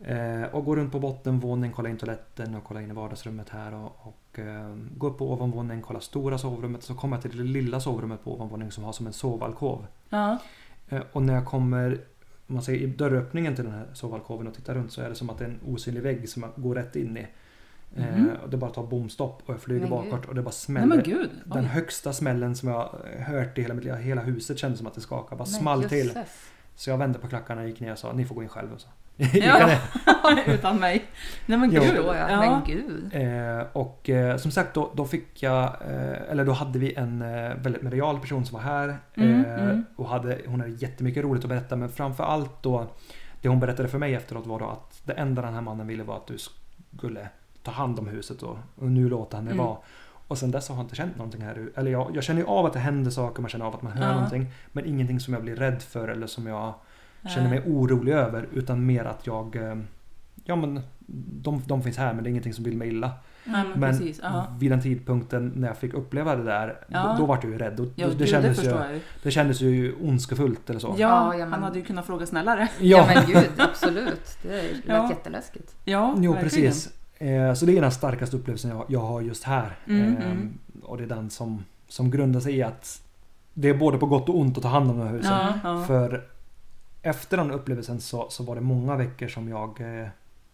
B: Eh, och går runt på bottenvåningen, kollar in toaletten och kollar in i vardagsrummet här. Och, och eh, går upp på ovanvåningen, kollar stora sovrummet. Så kommer jag till det lilla sovrummet på ovanvåningen som har som en sovalkov.
D: Ja.
B: Eh, Och när jag kommer om man säger, i dörröppningen till den här sovalkoven och tittar runt så är det som att det är en osynlig vägg som jag går rätt in i.
D: Mhm.
B: Eh, och det bara tar bomstopp och jag flyger
H: Men
B: bakåt
H: gud.
B: och det bara
D: Nej
B: smäller.
D: men gud. Oj.
B: Den högsta smällen som jag hört i hela mitt liv. Hela huset kändes som att det skakade. Bara small till. Så jag vände på klackarna och gick ner och sa ni får gå in själv. Och så. gick jag
D: Ja.
B: ner.
D: Utan mig. Nej men
B: Jo.
D: gud.
H: Förstår jag. Men gud.
B: Eh, och eh, som sagt då, då fick jag, eh, eller då hade vi en eh, väldigt medial person som var här.
D: Mm,
B: eh,
D: mm.
B: Och hade, hon hade jättemycket roligt att berätta men framför allt då det hon berättade för mig efteråt var då att det enda den här mannen ville var att du skulle ta hand om huset och, och nu låter han det
D: Mm.
B: vara. Och sen dess har jag inte känt någonting här. Eller jag, jag känner ju av att det händer saker, man känner av att man hör
D: Ja.
B: någonting. Men ingenting som jag blir rädd för eller som jag känner
D: Nej.
B: mig orolig över. Utan mer att jag... eh, Ja men de, de finns här men det är ingenting som vill mig illa.
D: Nej men,
B: Men
D: precis. Ja.
B: vid den tidpunkten när jag fick uppleva det där,
D: Ja.
B: då, då var jag ju rädd. Och
D: Ja,
B: det,
D: gud, det
B: kändes
D: förstår
B: ju,
D: jag ju.
B: det kändes ju ondskefullt eller så.
D: Ja,
H: Ja, ja,
D: han
H: men-
D: hade ju kunnat fråga snällare.
H: Ja men gud, absolut. Det lät
D: Ja.
H: jätteläskigt.
D: Ja,
B: jo,
D: verkligen.
B: precis. Eh, Så det är den starkaste upplevelsen jag, jag har just här.
D: Mm,
B: Ehm,
D: mm.
B: Och det är den som, som grundar sig i att det är både på gott och ont att ta hand om de här husen.
D: Ja, ja.
B: För efter den upplevelsen så, så var det många veckor som jag eh,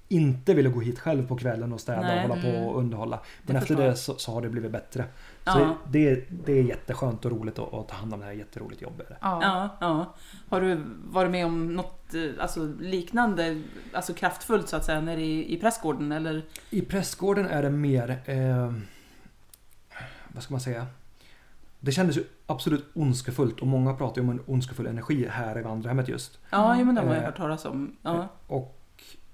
B: inte ville gå hit själv på kvällen och städa
D: Nej,
B: och hålla på
H: mm.
B: och underhålla. Men
D: Det
B: efter
D: förstår
B: det
D: jag.
B: så, så har det blivit bättre.
D: Ja.
B: Så det, det är jätteskönt och roligt att, att ta hand om det här jätteroligt jobbet.
H: Ja.
D: Ja, ja. Har du varit med om något eh, alltså, liknande, alltså kraftfullt så att säga, nere i, i prästgården eller?
B: I prästgården är det mer... Eh, vad ska man säga? Det kändes ju absolut ondskefullt och många pratar ju om en ondskefull energi här i vandrarhemmet just.
D: Ja, jo, men det har jag
B: Eh,
D: hört talas om. Ja.
B: Och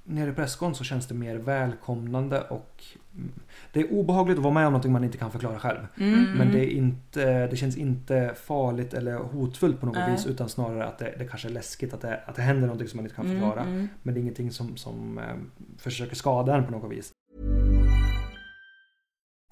B: nere i prästgården så känns det mer välkomnande och... mm, Det är obehagligt att vara med om någonting man inte kan förklara själv.
D: Mm.
B: Men det, är inte, det känns inte farligt eller hotfullt på något
D: Nej.
B: vis utan snarare att det, det kanske är läskigt att det, att det händer någonting som man inte kan
D: Mm,
B: förklara.
D: mm.
B: Men det är ingenting som, som eh, försöker skada en på något vis.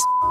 I: f-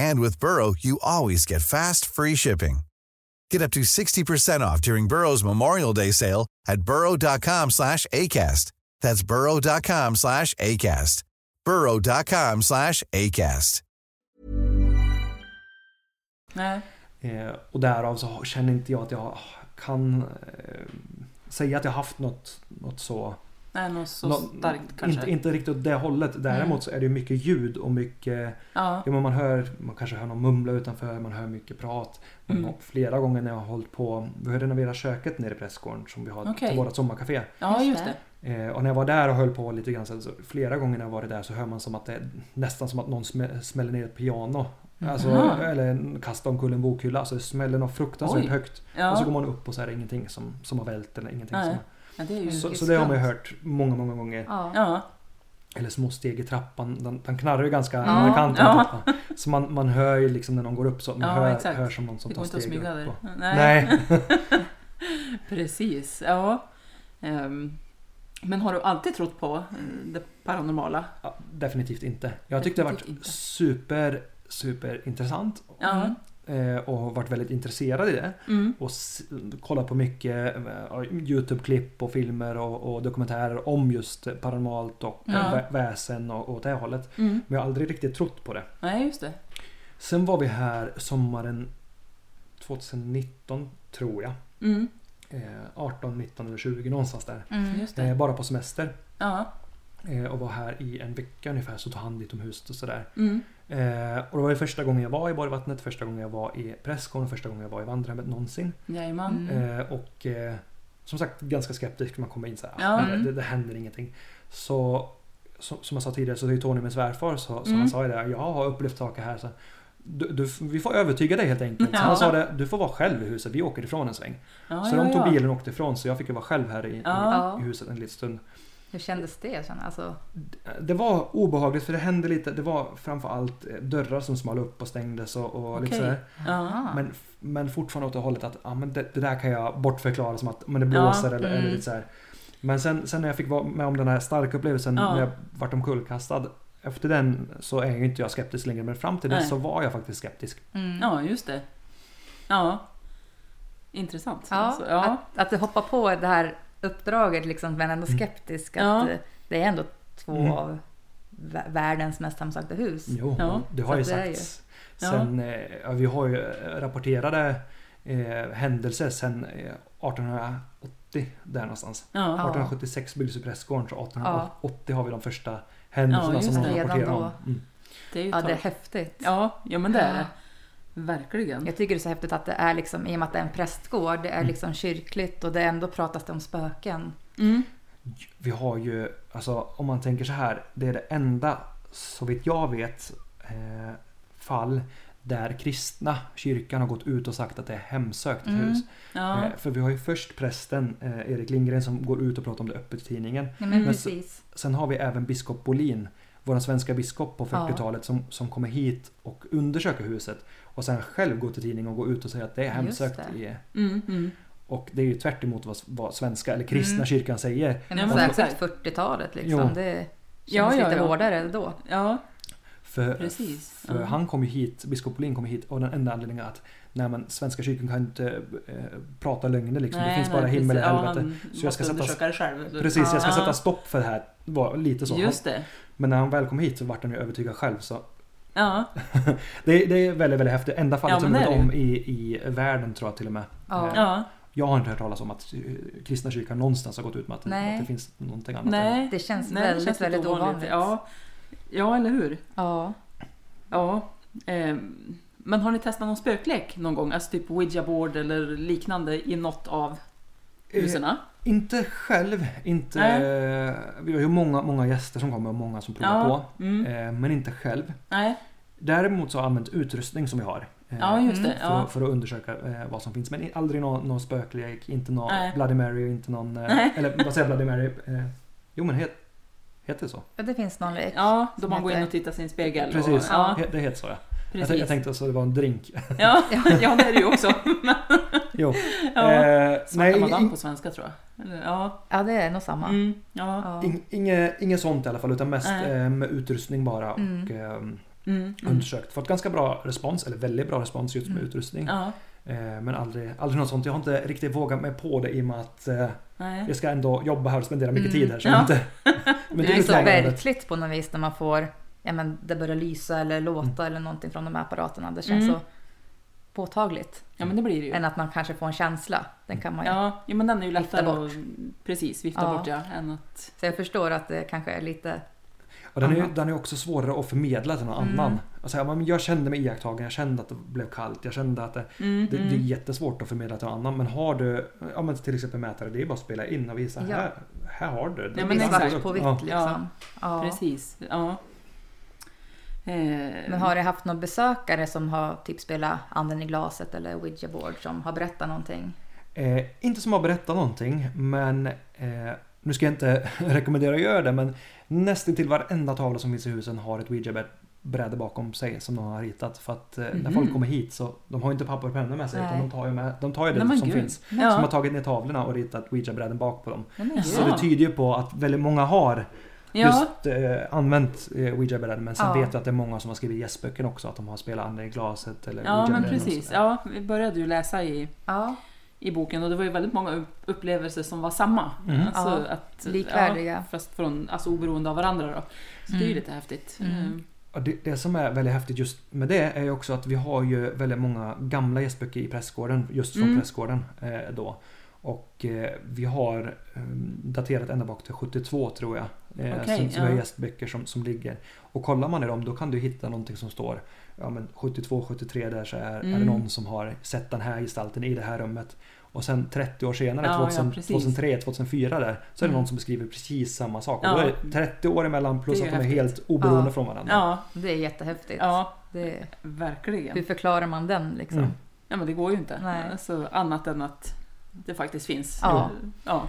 A: And with Burrow, you always get fast, free shipping. Get up to 60% off during Burrow's Memorial Day sale at burrow.com slash ACAST. That's burrow.com slash ACAST. burrow.com slash ACAST.
B: Nej.
A: Eh, och därav så känner inte jag att jag kan eh, säga att jag haft något, något så...
B: Nej, något så starkt kanske.
A: Inte, inte riktigt åt det hållet. Däremot
B: Mm.
A: så är det ju mycket ljud och mycket...
B: Ja.
A: men man, hör, man kanske hör någon mumla utanför, man hör mycket prat. Men
B: Mm.
A: nå- Flera gånger när jag har hållit på... Vi har renoverat köket nere i prästgården som vi har
B: Okej.
A: till vårt sommarcafé.
B: Ja, just det.
A: Eh, och när jag var där och höll på lite grann så så flera gånger när jag varit där så hör man som att det är nästan som att någon smä- smäller ner ett piano. Alltså,
B: Aha.
A: Eller kastar omkull en bokhylla. Alltså det smäller något fruktansvärt
B: Oj.
A: högt.
B: Ja.
A: Och så går man upp och så är det ingenting som, som har vält eller ingenting
B: Nej.
A: som
B: Ja, det är ju
A: så, så
B: skumt.
A: det har man ju hört många, många gånger.
B: Ja. Ja.
A: Eller små steg i trappan. Den, den knarrar ju ganska
B: Ja.
A: nära kanten. av
B: Ja.
A: trappan. Så man, man hör ju liksom när någon går upp så man
B: Ja,
A: hör,
B: exakt.
A: hör som någon som
B: Det
A: tar
B: går inte att
A: steg upp.
B: smyga över.
A: och-
B: Nej.
A: Nej.
B: Precis, ja. Ehm, men har du alltid trott på eh, det paranormala?
A: Ja, definitivt inte. Jag tyckte det
B: Definitivt
A: varit super, super intressant.
B: Ja.
A: Eh, Och har varit väldigt intresserad i det.
B: Mm.
A: Och s- kollat på mycket eh, Youtube-klipp och filmer och, och dokumentärer om just paranormalt och
B: Ja.
A: vä- väsen och, och åt det här hållet.
B: Mm.
A: Men jag har aldrig riktigt trott på det.
B: Nej, just det.
A: Sen var vi här sommaren 2019 tror jag.
B: Mm.
A: Eh, 18, 19 eller 20 någonstans där.
B: Mm. Just det.
A: Eh, bara på semester.
B: Ja.
A: Eh, och var här i en vecka ungefär så tog hand utomhus och sådär.
B: Mm.
A: Eh, och det var ju första gången jag var i Borgvattnet, första gången jag var i Prästgården, första gången jag var i Vandrarhemmet någonsin.
B: Jajamän.
D: Mm.
A: Eh, och eh, som sagt ganska skeptisk. Man kommer in så här,
B: Ja.
A: "Ah,
D: Mm.
A: det, det händer ingenting. Så som, som jag sa tidigare så är ju Tony min svärfar så, så
B: Mm.
A: han sa ju det. Jag har upplevt saker här. Så, du, du, vi får övertyga dig helt enkelt. Så
B: Ja.
A: han sa det. Du får vara själv i huset. Vi åker ifrån en sväng.
B: Ja,
A: så
B: ja,
A: de tog
B: ja.
A: bilen och åkte ifrån. Så jag fick ju vara själv här i,
D: Ja.
A: i, i huset en liten stund.
D: Hur kändes det? Sen? Alltså,
A: Det var obehagligt för det hände lite. Det var framförallt eh, dörrar som small upp och stängdes och, och lite
B: Okej.
A: sådär.
B: Ja.
A: Men, f- men fortfarande åt det hållet att ah, men det, det där kan jag bortförklara som att men det
B: Ja,
A: blåser eller,
B: mm.
A: eller lite sådär. Men sen, sen när jag fick vara med om den här starka upplevelsen
B: Ja.
A: när jag vart omkullkastad. Efter den så är ju inte jag skeptisk längre men fram till dess
B: Nej.
A: så var jag faktiskt skeptisk.
B: Ja, just det. Ja. Intressant.
D: ja,
B: Alltså, ja.
D: Att, att du hoppar på det här uppdraget liksom, men ändå skeptisk.
B: Mm. Ja.
D: Att eh, Det är ändå två
A: Mm.
D: av vä- världens mest hemsökta hus.
A: Jo, det har
D: Så
A: ju
D: att det är
A: sagts.
D: Ja.
A: Sen, eh, ja, vi har ju eh, rapporterade eh, händelser sen eh, 1880 där någonstans.
B: Ja.
A: 1876 byggdes ju prästgården så 1880 har vi de första händelserna
B: Ja, just
A: som de
B: det. Redan
A: rapporterar
D: då.
A: om. Mm.
B: Det är ju
D: ja, det är
B: torrt.
D: häftigt.
B: Ja, ja men det är det. Verkligen.
D: Jag tycker det är så häftigt att det är liksom, i och med att det är en prästgård, det är
C: Mm.
D: liksom kyrkligt och det ändå pratas det om spöken.
A: Vi har ju, alltså om man tänker så här, det är det enda så vitt jag vet eh, fall där kristna kyrkan har gått ut och sagt att det är hemsökt
B: Mm.
A: hus.
B: Ja.
A: Eh, för vi har ju först prästen eh, Erik Lindgren som går ut och pratar om det öppet i tidningen.
D: Ja,
C: Mm.
D: men
A: se-
D: precis.
A: sen har vi även biskop Bolin, vår svenska biskop på
D: Ja.
A: 40-talet som, som kommer hit och undersöker huset och sen själv går till tidningen och går ut och säger att det är hemsökt.
D: Just det.
A: I,
B: Mm, mm.
A: och det är ju tvärt emot vad, vad svenska eller kristna
D: Mm.
A: kyrkan säger.
D: Ja, men
A: Och-
D: särskilt 40-talet liksom.
A: Jo.
D: Det kändes
B: Ja, ja,
D: lite
B: ja.
D: hårdare då.
B: Ja,
A: För,
B: Precis.
A: för
B: Mm.
A: han kom ju hit, biskop Bolin kom hit av den enda anledningen att nej men svenska kyrkan kan inte eh, prata lögner liksom. det
B: Nej,
A: finns
B: nej,
A: bara himmel och
B: precis. Ja,
A: helvete.
B: han måste undersöka det själv.
A: Precis, jag ska
B: Ja.
A: sätta stopp för det här. Var lite så.
B: Just
A: Han-
B: det.
A: Men när han väl kom hit så vart han ju övertygad själv. Så
B: ja.
A: det, är- det är väldigt, väldigt häftigt. Enda fallet
B: Ja,
A: som
B: men
A: jag vet
B: det är det
A: om i, i världen tror jag till och med.
B: Ja.
A: Eh,
B: Ja.
A: Jag har inte hört talas om att eh, kristna kyrkan någonstans har gått ut med att,
D: Nej.
C: Mm.
B: Mm.
A: att det finns någonting annat.
B: Nej.
D: Det känns
B: Nej, det
D: väldigt,
B: känns lite
D: väldigt ovanligt.
B: Ja. ja, eller hur?
D: Ja.
B: Ja. ehm, Men har ni testat någon spöklek någon gång? Alltså typ Ouija board eller liknande i något av husen?
A: Eh, Inte själv, inte... eh, Vi har ju många, många gäster som kommer och många som provar
B: Ja,
A: på.
B: mm.
A: Eh, Men inte själv.
B: Nej.
A: Däremot så har jag använt utrustning som vi har. eh,
B: Ja, just det,
A: För,
B: ja.
A: för att undersöka eh, vad som finns. Men i- aldrig någon, någon spöklek, inte någon
D: Nej.
A: Bloody Mary, och inte någon...
D: Nej.
A: Eh, eller vad säger jag, Bloody Mary? Eh, jo men het, heter det så?
D: Ja, Det finns någon lek.
B: Ja, då
D: som
B: man går in
D: heter-
B: och tittar sig i en spegel.
A: Precis,
B: Och, ja.
A: he- det heter så ja. Jag,
B: Precis.
A: tänkte- jag tänkte att det var en drink.
B: Ja, ja, det är det ju också.
A: jo.
B: Ja.
A: Eh,
B: Svarta madam
A: in-
B: på svenska tror jag. Eller, Ja,
D: Ja, det är nog samma.
B: Mm, ja.
A: In, inget, inget sånt i alla fall utan mest
B: Nej.
A: eh, med utrustning bara och
B: Mm.
A: ehm,
B: Mm, mm.
A: undersökt. Fått ganska bra respons, eller väldigt bra respons just med
B: Mm.
A: utrustning.
B: Ja.
A: Eh, men aldrig, aldrig något sånt. Jag har inte riktigt vågat mig på det i och med att eh,
D: Nej.
A: jag ska ändå jobba här och spendera mycket
D: Mm.
A: tid här. Så
D: Ja.
A: jag inte,
D: det,
A: är
D: är så
A: utmanande.
D: verkligt på något vis när man
A: Mm.
D: får, ja men det börjar lysa eller låta eller någonting från de här apparaterna. Det känns
B: Mm.
D: så påtagligt.
B: Ja, men det blir det ju.
D: Än att man kanske får en känsla. Den kan man ju
B: Ja, ja men den är ju
D: vifta
B: lättare
D: bort.
B: att precis, vifta bort ja. Än att...
D: Så jag förstår att det kanske är lite...
C: Och den, är, ju-
D: annat.
C: den är också svårare att förmedla till någon
D: Mm.
C: annan. Alltså, ja, men jag kände mig iakttagen, jag kände att det blev kallt, jag kände att det,
D: Mm,
C: det, det är
D: mm.
C: jättesvårt att förmedla till någon annan. Men har du ja, men till exempel mätare, det är bara att spela in och visa.
D: Ja.
C: Här, här har du.
D: Det blir svart på vitt
C: Ja.
D: liksom. Ja.
B: Precis. Ja. Eh,
D: Men har det haft någon besökare som har typ spelat anden i glaset eller ouija board som har berättat någonting?
C: Eh, inte som har berättat någonting, men eh, nu ska jag inte rekommendera att göra det, men nästan till varenda tavla som finns i husen har ett Ouija-bräde bakom sig som någon har ritat. För att eh, när
B: Mhm.
C: folk kommer hit så de har ju inte papper och penna med sig, utan
B: Nej.
C: de tar ju, med, de tar ju det
B: Nej, men
C: som
B: gud.
C: finns.
B: Ja.
C: Som har tagit ner tavlorna och ritat Ouija-bräden bak på dem.
B: Nej, men
C: så
B: gud.
C: det typ tyder ju på att väldigt många har
B: Ja.
C: just eh, använt eh, Ouija-bräden, men sen
B: Ja.
C: vet jag att det är många som har skrivit gästböcker också, att de har spelat Anden i glaset eller
B: Ja, men
C: Ouija-bräden och
B: precis.
C: sådär.
B: Ja, vi började ju läsa i, i boken och det var ju väldigt många upp- upplevelser som var samma.
C: Mm.
B: Alltså
D: Ja,
B: att,
D: likvärdiga.
B: Ja, fast från, alltså oberoende av varandra då. Så det är ju lite häftigt. Mm.
C: Ja, Det, det som är väldigt häftigt just med det är ju också att vi har ju väldigt många gamla gästböcker i prästgården, just från
B: Mm.
C: prästgården eh, då. Och eh, vi har eh, daterat ända bak till 72 tror jag. Eh,
B: Okej,
C: som, som vi har
B: ja.
C: gästböcker som, som ligger. Och kollar man i dem då kan du hitta någonting som står ja, men 72, 73 där så är, är det
B: Mm.
C: någon som har sett den här gestalten i det här rummet. Och sen 30 år senare,
B: Ja, ja,
C: 2000,
B: precis.
C: 2003, 2004 där, så är det
B: Mm.
C: någon som beskriver precis samma sak.
B: Ja.
C: Och då är det 30 år emellan plus
B: Det
C: att
B: är
C: de är
B: häftigt.
C: helt oberoende från varandra.
B: Ja,
D: Det är jättehäftigt.
B: Ja,
D: det...
B: verkligen.
D: Hur förklarar man den liksom?
C: Mm.
B: Ja, men det går ju inte.
D: Nej.
B: Alltså, annat än att det faktiskt finns.
D: Ja.
B: ja.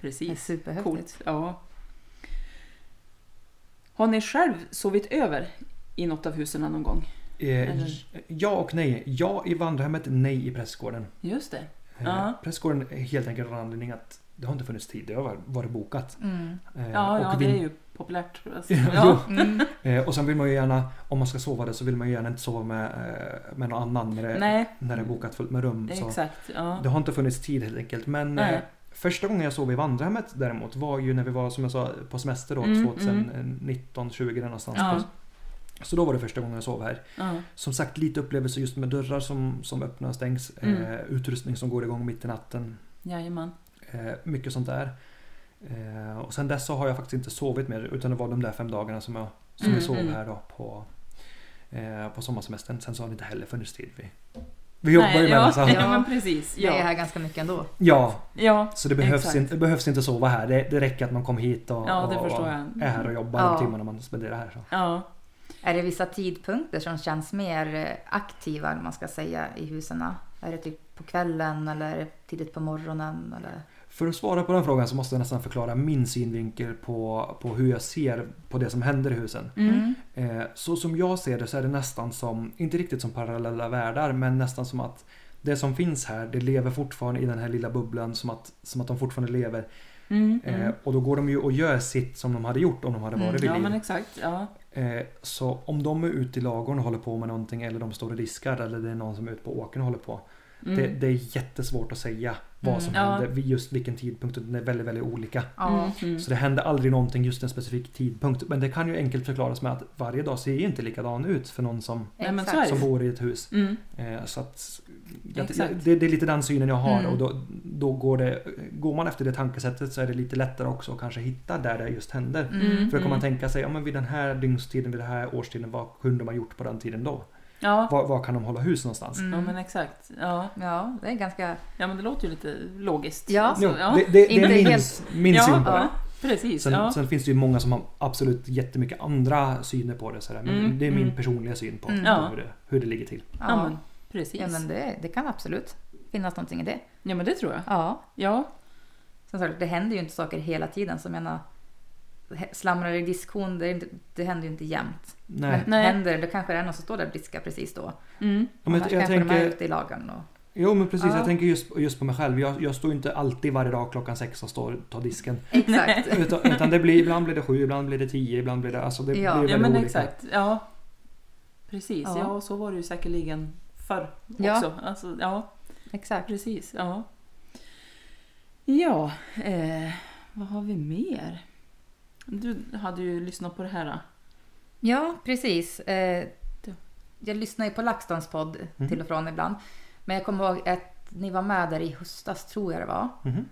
B: Precis.
D: Det är superhäftigt.
B: Coolt. Ja. Har ni själv sovit över i något av husen någon gång?
C: Eh,
B: Eller?
C: ja och nej. Ja i vandrarhemmet, nej i prästgården.
B: Just det.
C: Eh,
B: Ja.
C: Prästgården är helt enkelt av den anledningen att det har inte funnits tid. Det har varit- varit bokat.
B: Mm.
C: Eh,
B: ja, ja
C: och
B: det
C: vin-
B: är ju populärt. Alltså.
C: Ja.
B: Ja. Mm.
C: Eh, och sen vill man ju gärna, om man ska sova det så vill man ju gärna inte sova med, eh, med någon annan när det,
B: Nej.
C: när det är bokat fullt med rum.
B: Det är
C: Så
B: exakt, ja.
C: Det har inte funnits tid helt enkelt. Men
B: Nej.
C: eh, första gången jag sov i vandrarhemmet däremot var ju när vi var som jag sa på semester då,
B: Mm,
C: 2019, 20 där någonstans.
B: Ja.
C: På- Så då var det första gången jag sov här.
B: Ja.
C: Som sagt lite upplevelse just med dörrar som, som öppnar och stängs.
B: Mm.
C: Eh, utrustning som går igång mitt i natten.
B: Jajamän.
C: Eh, mycket sånt där. Eh, och sen dess så har jag faktiskt inte sovit mer utan det var de där fem dagarna som jag, som
B: Mm,
C: jag sov
B: mm.
C: här då på, eh, på sommarsemestern. Sen så har det inte heller funnits tid. Vi, vi jobbar ju med
B: ja,
C: det. så-
B: ja, men precis.
D: Vi
B: Ja.
D: är här ganska mycket ändå.
C: Ja,
B: Ja,
C: så det behövs,
B: exakt.
C: inte, det behövs inte sova här. Det, det räcker att man kom hit och,
B: Ja, det
C: och,
B: förstår
C: och
B: jag.
C: är här och jobbar
D: Ja.
C: de timmarna man spenderar här. Så.
B: Ja.
D: Är det vissa tidpunkter som känns mer eh, aktiva, eller man ska säga, i husen? Är det typ på kvällen eller är det tidigt på morgonen? Eller?
C: För att svara på den frågan så måste jag nästan förklara min synvinkel på, på hur jag ser på det som händer i husen.
D: Mm.
C: Eh, så som jag ser det så är det nästan som, inte riktigt som parallella världar, men nästan som att det som finns här, det lever fortfarande i den här lilla bubblan som att, som att de fortfarande lever.
B: Mm,
C: Eh,
B: mm.
C: och då går de ju och gör sitt som de hade gjort om de hade varit vid
B: ja,
C: liv.
B: men exakt. Ja.
C: Eh, Så om de är ute i lagorn och håller på med någonting eller de står och diskar eller det är någon som är ute på åkern och håller på.
B: Mm.
C: Det, det är jättesvårt att säga vad som
B: Mm. Ja.
C: händer vid just vilken tidpunkt. utan Det är väldigt, väldigt olika.
B: Ja. Mm.
C: Så det händer aldrig någonting just en specifik tidpunkt. Men det kan ju enkelt förklaras med att varje dag ser ju inte likadan ut för någon som,
B: Nej, men så är det.
C: som bor i ett hus.
B: Mm.
C: Eh, Så att, jag,
B: Exakt.
C: jag, det, det är lite den synen jag har
B: Mm.
C: och då, då går det, går man efter det tankesättet så är det lite lättare också att kanske hitta där det just händer.
B: Mm,
C: För då kan
B: mm.
C: man tänka sig, ja men vid den här dygnstiden, vid den här årstiden, vad kunde man gjort på den tiden då?
B: Ja.
C: Var, var kan de hålla hus någonstans?
D: Mm.
B: Ja men exakt. Ja.
D: ja, det är ganska...
B: Ja men det låter ju lite logiskt.
D: Ja.
C: Jo, det, det, det är min, min
B: ja,
C: syn på
B: ja.
C: det.
B: Precis.
C: Sen,
B: ja.
C: sen finns det ju många som har absolut jättemycket andra syner på det. Sådär. Men
B: Mm,
C: det är min
B: mm.
C: personliga syn på
D: Mm.
C: på
D: Ja.
C: hur, det, hur det ligger till.
B: Ja, men precis.
D: Ja, men det, det kan absolut finnas någonting i det.
B: Ja, men det tror jag.
D: Ja.
B: ja.
D: Som sagt, det händer ju inte saker hela tiden. Som jag menar, he- slamrar i diskhon, det, är inte- det händer ju inte jämt.
C: Nej.
D: Men
C: Nej.
D: händer det, då kanske det är någon som står där och diskar precis då.
B: Mm.
C: Ja, men
D: Annars
C: jag
D: kanske de är
C: tänker-
D: ute i lagren och...
C: Jo men precis,
D: Ja.
C: jag tänker just, just på mig själv. Jag, jag står ju inte alltid varje dag klockan sex och står och tar disken.
D: Exakt.
C: Utan, utan det blir, ibland blir det sju, ibland blir det tio, ibland blir det... Alltså det blir
B: ja.
C: väldigt
B: ja men
C: olika.
B: exakt. Ja. Precis.
D: Ja.
B: Ja. så var det ju säkerligen förr
D: Ja.
B: också. Alltså, ja.
D: Exakt.
B: Precis. Ja. Ja. Eh, vad har vi mer? Du hade ju lyssnat på det här. då.
D: Ja, precis. Eh,
E: jag lyssnar ju på LaxTons podd
A: Mhm.
E: till och från ibland. Men jag kommer ihåg att ni var med där i höstas, tror jag det var.
A: Mhm.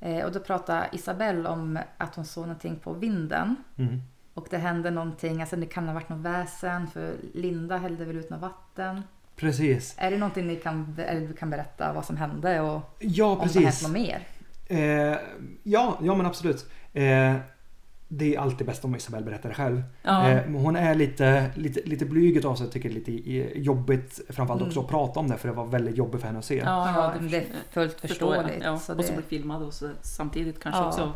E: Eh, och då pratade Isabelle om att hon såg någonting på vinden.
A: Mhm.
E: Och det hände någonting, alltså det kan ha varit något väsen för Linda hällde väl ut något vatten.
A: Precis.
E: Är det någonting ni kan, eller du kan berätta vad som hände och
A: Ja,
E: om det har hänt
A: precis.
E: något mer?
A: Eh, ja, ja men absolut. Eh, det är alltid bäst om Isabelle berättar det själv.
D: Ja.
A: Eh, men hon är lite, lite, lite blyg av sig. Jag tycker det är lite i- jobbigt framförallt
D: Mm.
A: också att prata om det för det var väldigt jobbigt för henne att se.
D: Ja,
E: Ja,
D: det,
E: men det är fullt
D: förstår jag.
E: förståeligt,
D: Ja.
E: så
D: Och så
E: det-
D: bli filmad och så, samtidigt kanske
E: Ja.
D: också.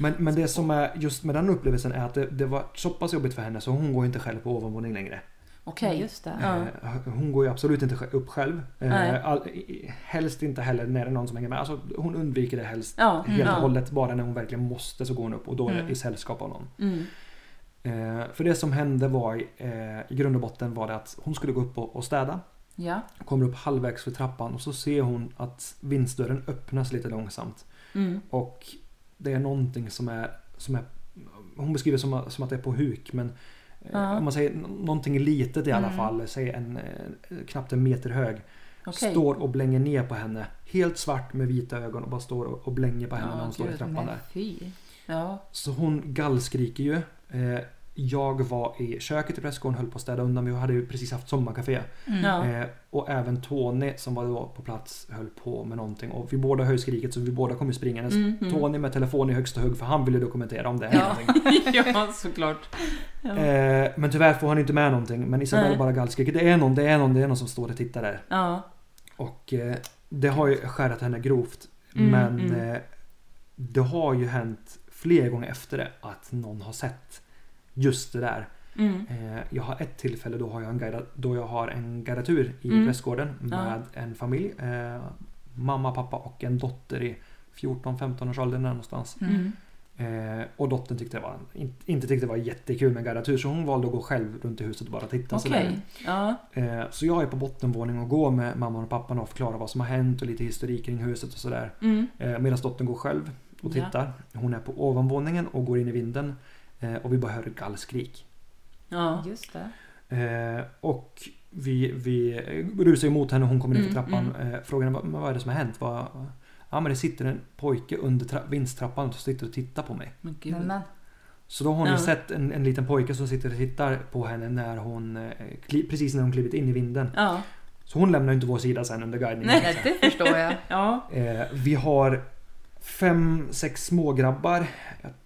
A: Men, men det som är just med den upplevelsen är att det, det var så pass jobbigt för henne så hon går inte själv på ovanvåning längre.
D: Okej.
E: Just det.
D: Ja.
A: Eh, Hon går ju absolut inte sj- upp själv. Eh,
D: Nej.
A: All, i- i- helst inte heller när det är någon som hänger med. Alltså, hon undviker det helst
D: Ja, mm,
A: helt
D: ja.
A: och hållet. Bara när hon verkligen måste så går hon upp och då är det
D: Mm.
A: i sällskap av någon.
D: Mm.
A: Eh, för det som hände var i, eh, i grund och botten var det att hon skulle gå upp och, och städa.
D: Ja.
A: Kommer upp halvvägs för trappan och så ser hon att vindsdörren öppnas lite långsamt.
D: Mm.
A: Och det är någonting som är, som är hon beskriver som, att- som att det är på huk men eh,
D: Ja.
A: om man säger n- någonting litet i alla
D: Mm.
A: fall, säg en, eh, knappt en meter hög.
D: Okej.
A: Står och blänger ner på henne. Helt svart med vita ögon och bara står och och blänger på henne när hon står i
D: gud,
A: trappan
D: men
A: där.
D: Fy. Ja.
A: Så hon gallskriker ju. Eh, Jag var i köket i prästgården höll på att städa undan. Vi hade ju precis haft sommarkafé.
D: Mm. Ja.
A: Eh, Och även Tony som var då på plats höll på med någonting. Och vi båda höll skriket så vi båda kom ju springandes.
D: Mm, mm.
A: Tony med telefon i högsta hugg för han ville dokumentera om det hände
D: Ja.
A: någonting.
D: ja, såklart. Ja.
A: Eh, Men tyvärr får han inte med någonting. Men Isabella
D: Nej.
A: bara gallskriker. Det är någon, det är någon, det är någon som står och tittar där.
D: ja.
A: Och eh, det har ju skärat henne grovt.
D: Mm,
A: men
D: mm.
A: Eh, det har ju hänt fler gånger efter det att någon har sett just det där.
D: Mm.
A: Eh, jag har ett tillfälle då, har jag en guida, då jag har en guidatur i
D: Mm.
A: prästgården
D: Ja.
A: med en familj. Eh, mamma, pappa och en dotter i 14-15 års ålder någonstans.
D: Mm.
A: Eh, och dottern tyckte det var, inte, inte tyckte det var jättekul med en guidatur så hon valde att gå själv runt i huset och bara titta.
D: Okej.
A: sådär.
D: Ja.
A: Eh, Så jag är på bottenvåningen och går med mamman och pappan och förklarar vad som har hänt och lite historik kring huset och sådär.
D: Mm.
A: Eh, Medan dottern går själv och
D: Ja.
A: tittar. Hon är på ovanvåningen och går in i vinden. eh, Och vi bara hör gallskrik.
D: Ja.
E: Just det.
A: Eh, Och vi, vi eh, rusar emot henne och hon kommer ner för
D: Mm,
A: trappan. Eh, Frågar henne "Vad- men vad är det som har hänt? Vad... Ja men det sitter en pojke under tra- vindstrappan och sitter och tittar på mig.
D: Men gud.
E: Men, men,
A: Så då har ni
D: Ja.
A: sett en, en liten pojke som sitter och tittar på henne när hon, eh, kli- precis när hon klivit in i vinden.
D: Ja.
A: Så hon lämnar ju inte vår sida sen under guidningen.
E: nej, det förstår jag.
D: Ja.
A: Eh, vi har fem, sex smågrabbar.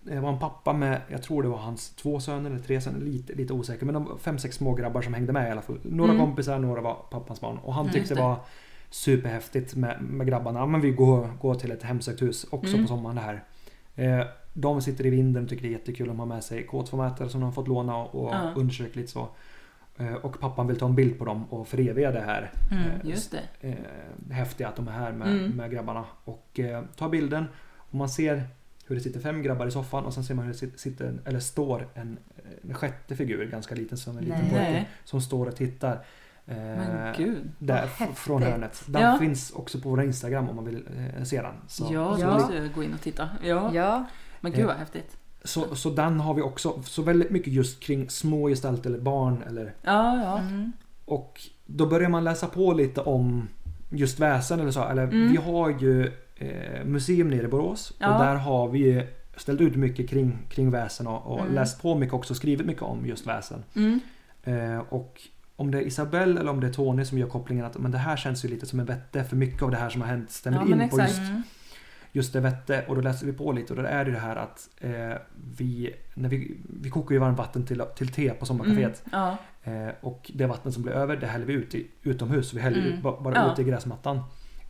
A: Det var en pappa med, jag tror det var hans två söner eller tre söner, lite, lite osäker. Men de var fem, sex smågrabbar som hängde med i alla fall. Några
D: Mm.
A: kompisar, några var pappans barn. Och han
D: Mm,
A: tyckte
D: just
A: det
D: det.
A: var superhäftigt med, med grabbarna. Ja, Men vi går, går till ett hemsökt hus också
D: Mm.
A: på sommaren det här. Eh, de sitter i vinden och tycker det är jättekul. De har med sig K2-mätare som de har fått låna och, och
D: Ja.
A: undersökt lite så. Eh, och pappan vill ta en bild på dem och föreviga det här
E: Mm,
A: eh,
D: Just det.
A: eh, häftiga att de är här med,
D: Mm.
A: med grabbarna. Och eh, tar bilden och man ser hur det sitter fem grabbar i soffan och sen ser man hur det sit- sitter, en- eller står en, en sjätte figur, ganska liten som en liten
E: Nej.
A: pojke,
D: Nej.
A: som står och tittar. eh,
D: Men gud.
A: Där
E: Vad häftigt.
A: från hörnet. Den
D: Ja.
A: finns också på vår Instagram om man vill eh, se den. Så,
D: Ja,
A: så,
D: då
E: Ja.
D: måste jag gå in och titta. Ja.
E: Ja,
D: Men gud vad häftigt.
A: så, så den har vi också. Så väldigt mycket just kring små gestalter eller barn eller
D: Ja, ja.
E: mm.
A: Och då börjar man läsa på lite om just väsen eller så. Eller,
D: Mm.
A: Vi har ju eh, museum nere i Borås
D: Ja.
A: och där har vi ju ställt ut mycket kring, kring väsen och, och läst på mycket också och skrivit mycket om just väsen.
D: Mm.
A: Eh, och om det är Isabelle eller om det är Tony som gör kopplingen att men det här känns ju lite som en vette för mycket av det här som har hänt stämmer
D: Ja, men
A: in på
D: exakt. Mm.
A: just, just det vette. Och då läser vi på lite och då är det ju det här att eh, vi, när vi, vi kokar ju varmt vatten till, till te på sommarkaféet.
D: Mm. Ja.
A: Eh, och det vattnet som blir över det häller vi ut i, utomhus. Vi häller
E: Mm.
A: ut, ba- bara
D: Ja.
A: ut i gräsmattan.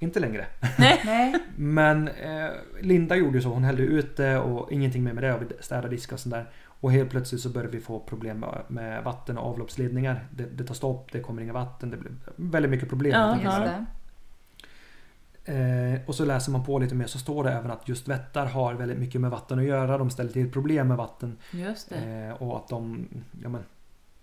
A: Inte längre.
E: Nej,
A: Men eh, Linda gjorde ju så. Hon hällde ut det och ingenting mer med det. Och vi städade diskar och sånt där. Och helt plötsligt så började vi få problem med, med vatten och avloppsledningar. Det, det tar stopp, det kommer inga vatten. Det blir väldigt mycket problem.
D: Ja,
A: helt
D: ja.
A: enkelt.
E: just det.
A: Eh, och så läser man på lite mer så står det även att just vättar har väldigt mycket med vatten att göra. De ställer till problem med vatten.
D: Just det.
A: Eh, och att de ja, men,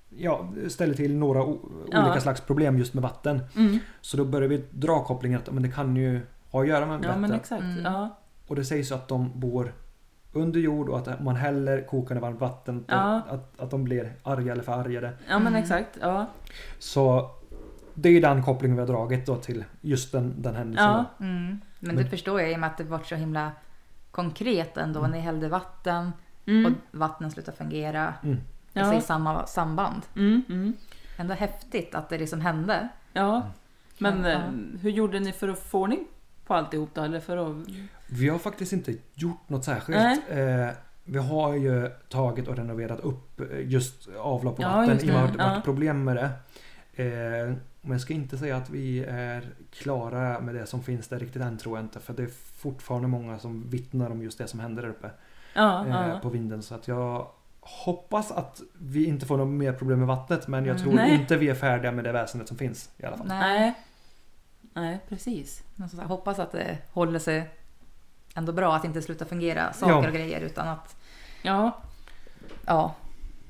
A: ja, ställer till några o-
D: Ja.
A: olika slags problem just med vatten.
D: Mm.
A: Så då börjar vi dra kopplingen att men det kan ju ha att göra med
D: Ja
A: vatten.
D: men exakt.
E: Mm.
D: Ja.
A: Och det sägs ju att de bor under jord och att man häller kokande varmt vatten på,
D: Ja.
A: att, att de blir arga eller förargade.
D: Ja men exakt. Ja.
A: Så det är ju den kopplingen vi har dragit då till just den, den händelsen.
D: Ja.
A: då.
E: Mm. Men
A: Men- Mm.
E: det förstår jag i och med att det var så himla konkret ändå. Ni hällde vatten
D: Mm.
E: och vattnen slutade fungera.
A: Mm.
E: Det
D: Ja.
E: säger samma samband.
D: Mm, mm.
E: Ändå häftigt att det liksom hände.
A: Mm.
D: Ja. Men
E: Ja.
D: eh, hur gjorde ni för att få ordning på alltihop då? Eller för att...
A: Vi har faktiskt inte gjort något särskilt.
D: Nej.
A: Eh, vi har ju tagit och renoverat upp eh, just avlopp och
D: Ja,
A: vatten
D: just
A: i och med att
D: det.
A: det varit
D: Ja.
A: problem med det. Eh, men jag ska inte säga att vi är klara med det som finns där riktigt än tror jag inte. För det är fortfarande många som vittnar om just det som hände där uppe.
D: Ja,
A: eh,
D: ja.
A: På vinden. Så att jag hoppas att vi inte får något mer problem med vattnet. Men jag
D: Mm.
A: tror
D: Nej.
A: inte vi är färdiga med det väsendet som finns i alla fall.
E: Nej.
D: Nej, precis.
E: Men som sagt, hoppas att det håller sig ändå bra. Att det inte slutar fungera saker
A: Ja.
E: och grejer. Utan att
D: ja.
E: Ja,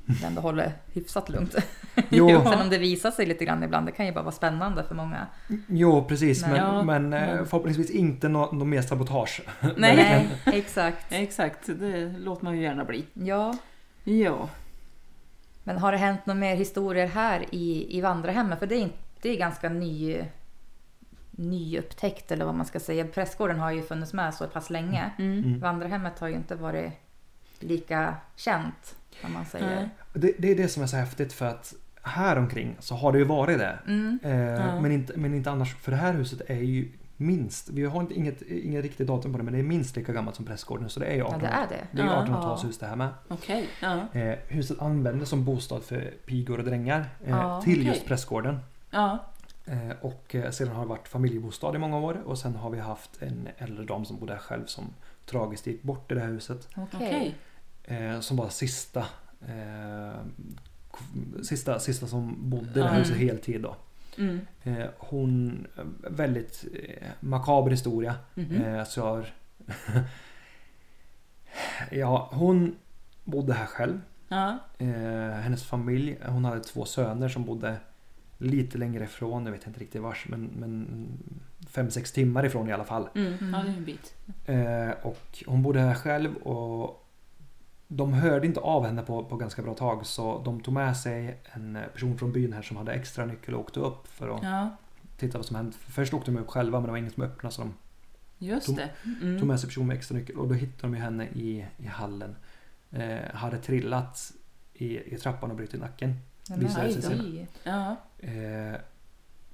E: det ändå håller hyfsat lugnt.
A: Jo.
E: Sen om det visar sig lite grann ibland. Det kan ju bara vara spännande för många.
A: Jo precis
E: Nej.
A: men,
E: Ja,
A: men, eh,
E: men-
A: förhoppningsvis inte något nå mer sabotage.
D: Nej.
E: Exakt.
D: Exakt, det låter man ju gärna bli.
E: Ja.
D: Ja.
E: Men har det hänt några mer historier här i, i vandrarhemmet? För det är, inte, det är ganska ny, nyupptäckt eller vad man ska säga. Prästgården har ju funnits med så pass länge.
A: Mm.
E: Vandrarhemmet har ju inte varit lika känt om man säger.
D: Nej.
A: Det, det är det som är så häftigt för att här omkring så har det ju varit det.
E: Mm.
A: Eh,
E: Ja.
A: men, inte, men inte annars. För det här huset är ju minst, vi har inte inget, inget riktigt datum på det men det är minst lika gammalt som prästgården så det är ju
E: Ja,
A: 1800,
E: det är det.
A: ju
E: Ja.
A: 1800-talshus det här med.
D: Okej. Ja.
A: Eh, huset användes som bostad för pigor och drängar eh,
D: Ja,
A: till
D: okej.
A: just prästgården.
D: Ja.
A: Eh, Och eh, sedan har det varit familjebostad i många år och sen har vi haft en äldre dam som bodde här själv som tragiskt gick bort i det här huset.
E: Okej.
D: Okej.
A: Eh, Som var sista, eh, k- sista, sista som bodde i det här
D: Mm.
A: huset heltid då.
D: Mm.
A: Eh, Hon, väldigt eh, makaber historia.
D: Mhm.
A: Eh, Så jag har- ja, hon bodde här själv.
D: Ja.
A: Eh, hennes familj, hon hade två söner som bodde lite längre ifrån, jag vet inte riktigt vars, men, men fem, sex timmar ifrån i alla fall.
D: Mm. Ja, det är en bit.
A: Eh, och hon bodde här själv och de hörde inte av henne på, på ganska bra tag så de tog med sig en person från byn här som hade extra nyckel och åkte upp för att
D: Ja,
A: titta vad som hände. Först åkte de upp själva men det var ingen som öppnade så de
D: just
A: Tom-
D: det. Mm.
A: tog med sig person med extra nyckel och då hittade de ju henne i, i hallen. Eh, hade trillat i, i trappan och brutit nacken.
E: Ja, men
A: Visade det sig
E: oj då.
A: sen.
D: Ja.
A: Eh,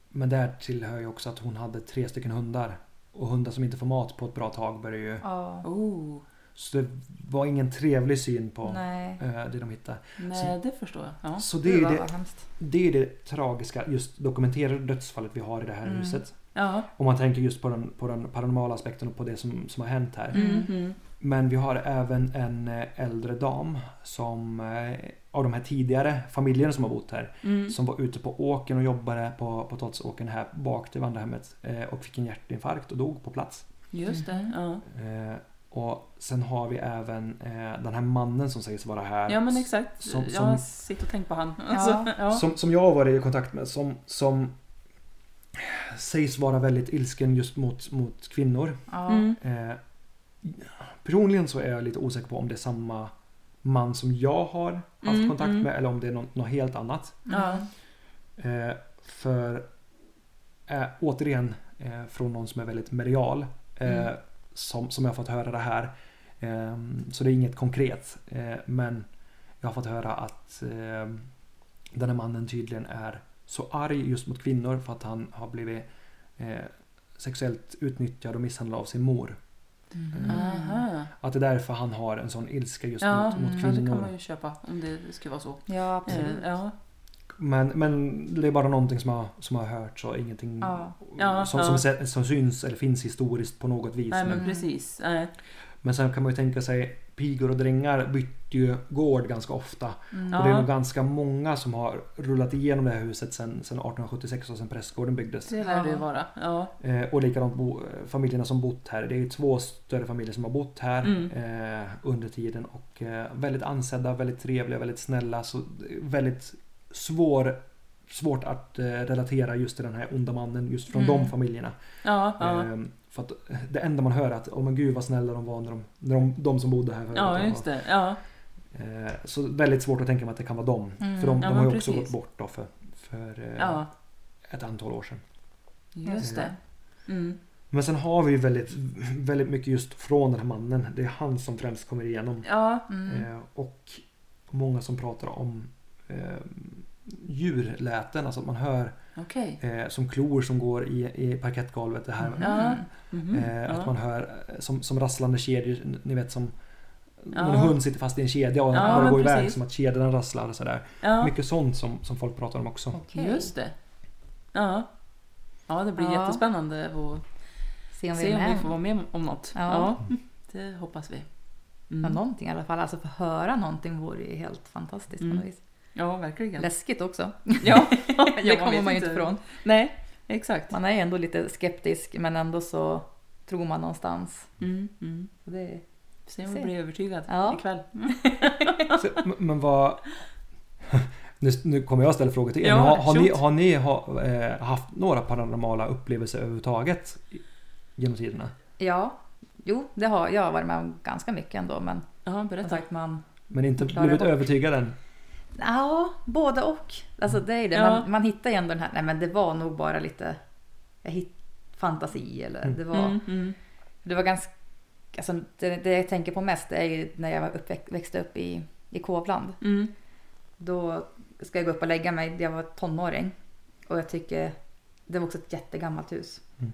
A: men där tillhör ju också att hon hade tre stycken hundar. Och hundar som inte får mat på ett bra tag börjar ju...
E: Ja.
D: Oh.
A: Så det var ingen trevlig syn på
E: Nej.
A: eh, det de hittade.
D: Nej, det förstår jag. Ja.
A: Så, så det, är ju
E: Gud, vad-
A: det,
E: vad hemskt.
A: det är ju det tragiska, just dokumenterade dödsfallet vi har i det här
E: Mm.
A: huset.
D: Ja.
A: Om man tänker just på den, på den paranormala aspekten och på det som, som har hänt här.
D: Mm. Mm.
A: Men vi har även en eh, äldre dam som eh, av de här tidigare familjerna som har bott här
D: Mm.
A: som var ute på åkern och jobbade på potatisåkern här bak till vandrarhemmet eh, och fick en hjärtinfarkt och dog på plats.
D: Just det.
E: Mm.
D: Ja.
A: Eh, och sen har vi även eh, den här mannen som sägs vara här.
D: ja, men exakt.
A: Som, som,
D: Jag sitter och tänker på han. Alltså,
E: Ja.
D: ja.
A: som, som jag har varit i kontakt med som, som sägs vara väldigt ilsken just mot, mot kvinnor.
E: Ja.
D: Mm.
A: Eh, personligen så är jag lite osäker på om det är samma man som jag har haft
D: Mm,
A: kontakt
D: mm.
A: med eller om det är något, något helt annat.
D: Ja.
A: Eh, för eh, återigen eh, från någon som är väldigt medial eh,
D: Mm.
A: som, som jag har fått höra det här. Eh, så det är inget konkret. Eh, men jag har fått höra att eh, den här mannen tydligen är så arg just mot kvinnor för att han har blivit eh, sexuellt utnyttjad och misshandlad av sin mor.
D: Aha.
A: Att det är därför han har en sån ilska just
D: Ja,
A: mot, mot
D: ja, det kan
A: kvinnor.
D: man ju köpa om det skulle vara så.
E: Ja, absolut.
D: Eh, Ja.
A: Men, men det är bara någonting som har, som har hörts och ingenting
E: Ja.
D: Ja,
A: Mm, som,
D: ja.
A: Som, se- som syns eller finns historiskt på något vis.
D: Nej, men
A: men,
D: precis. Nej.
A: men sen kan man ju tänka sig pigor och drängar bytte ju gård ganska ofta.
D: Mm.
A: Och det är
D: Ja.
A: nog ganska många som har rullat igenom det här huset sedan sedan 1876 och sedan prästgården byggdes.
D: Det lär det
E: Ja.
D: ju vara. Ja.
A: Eh, och likadant bo, familjerna som bott här. Det är ju två större familjer som har bott här
D: Mm.
A: eh, under tiden. Och eh, väldigt ansedda, väldigt trevliga, väldigt snälla. Så eh, väldigt svår svårt att eh, relatera just till den här onda mannen just från
D: Mm.
A: de familjerna.
D: Ja, ja.
A: Ehm, För att det enda man hör är att oh, men gud vad snälla de var när de, när de, de som bodde här förut.
D: ja,
A: Och-
D: just det. Ja.
A: Eh, Så väldigt svårt att tänka mig att det kan vara dem.
D: Mm.
A: För de,
D: Ja,
A: de
D: men
A: har ju också
D: precis.
A: gått bort då för, för eh,
D: Ja.
A: ett antal år sedan.
D: Just det. Mm.
A: Men sen har vi ju väldigt, väldigt mycket just från den här mannen. Det är han som främst kommer igenom.
D: Ja, mm.
A: Eh, Och många som pratar om eh, djurläten, alltså att man hör
D: Okej.
A: eh, som klor som går i, i parkettgolvet. Det här.
D: Ja. Mhm.
A: Eh,
D: Ja.
A: Att man hör eh, som, som rasslande kedjor, ni vet som när
D: Ja.
A: en hund sitter fast i en kedja och den
D: Ja,
A: andra
D: men
A: går iväg
D: precis.
A: som att kedjan rasslar och sådär.
D: Ja.
A: Mycket sånt som, som folk pratar om också.
D: Just det. Ja. Ja, det blir
E: Ja.
D: jättespännande att
E: Se om vi
D: se
E: är
D: om
E: med.
D: vi får vara med om något.
E: Ja.
D: Ja. Det hoppas vi.
E: Ja, någonting i alla fall. Alltså få höra någonting vore ju helt fantastiskt på
D: Mm.
E: något vis.
D: Ja, verkligen.
E: Läskigt också.
D: Ja,
E: det
D: vet
E: kommer man ju inte
D: inte.
E: ifrån.
D: Nej, exakt.
E: Man är ju ändå lite skeptisk men ändå så tror man någonstans.
D: Mm, mm.
E: Så det,
D: Se om
E: Se.
D: vi blir övertygad
E: Ja.
D: ikväll.
A: Så, m- men vad... Nu, nu kommer jag ställa frågor till er.
D: Ja,
A: men har, har ni,
D: shoot.
A: har ni ha, eh, haft några paranormala upplevelser överhuvudtaget i- genom tiderna?
E: Ja, jo, det har jag varit med om ganska mycket ändå. Men
D: ja, berätta.
E: Sagt, man,
A: Men inte
E: Klara
A: blivit
E: bort.
A: övertygade än?
E: ja, både och. Alltså det är ju det.
D: Ja.
E: Man, man hittar ju ändå den här, nej men det var nog bara lite jag hitt, fantasi eller det var...
D: Mm, mm.
E: Det var ganska... Alltså, det, det jag tänker på mest är ju när jag var uppväxt, växte upp i, i Kovland.
D: Mm.
E: Då ska jag gå upp och lägga mig. Jag var tonåring. Och jag tycker... Det var också ett jättegammalt hus.
A: Mm.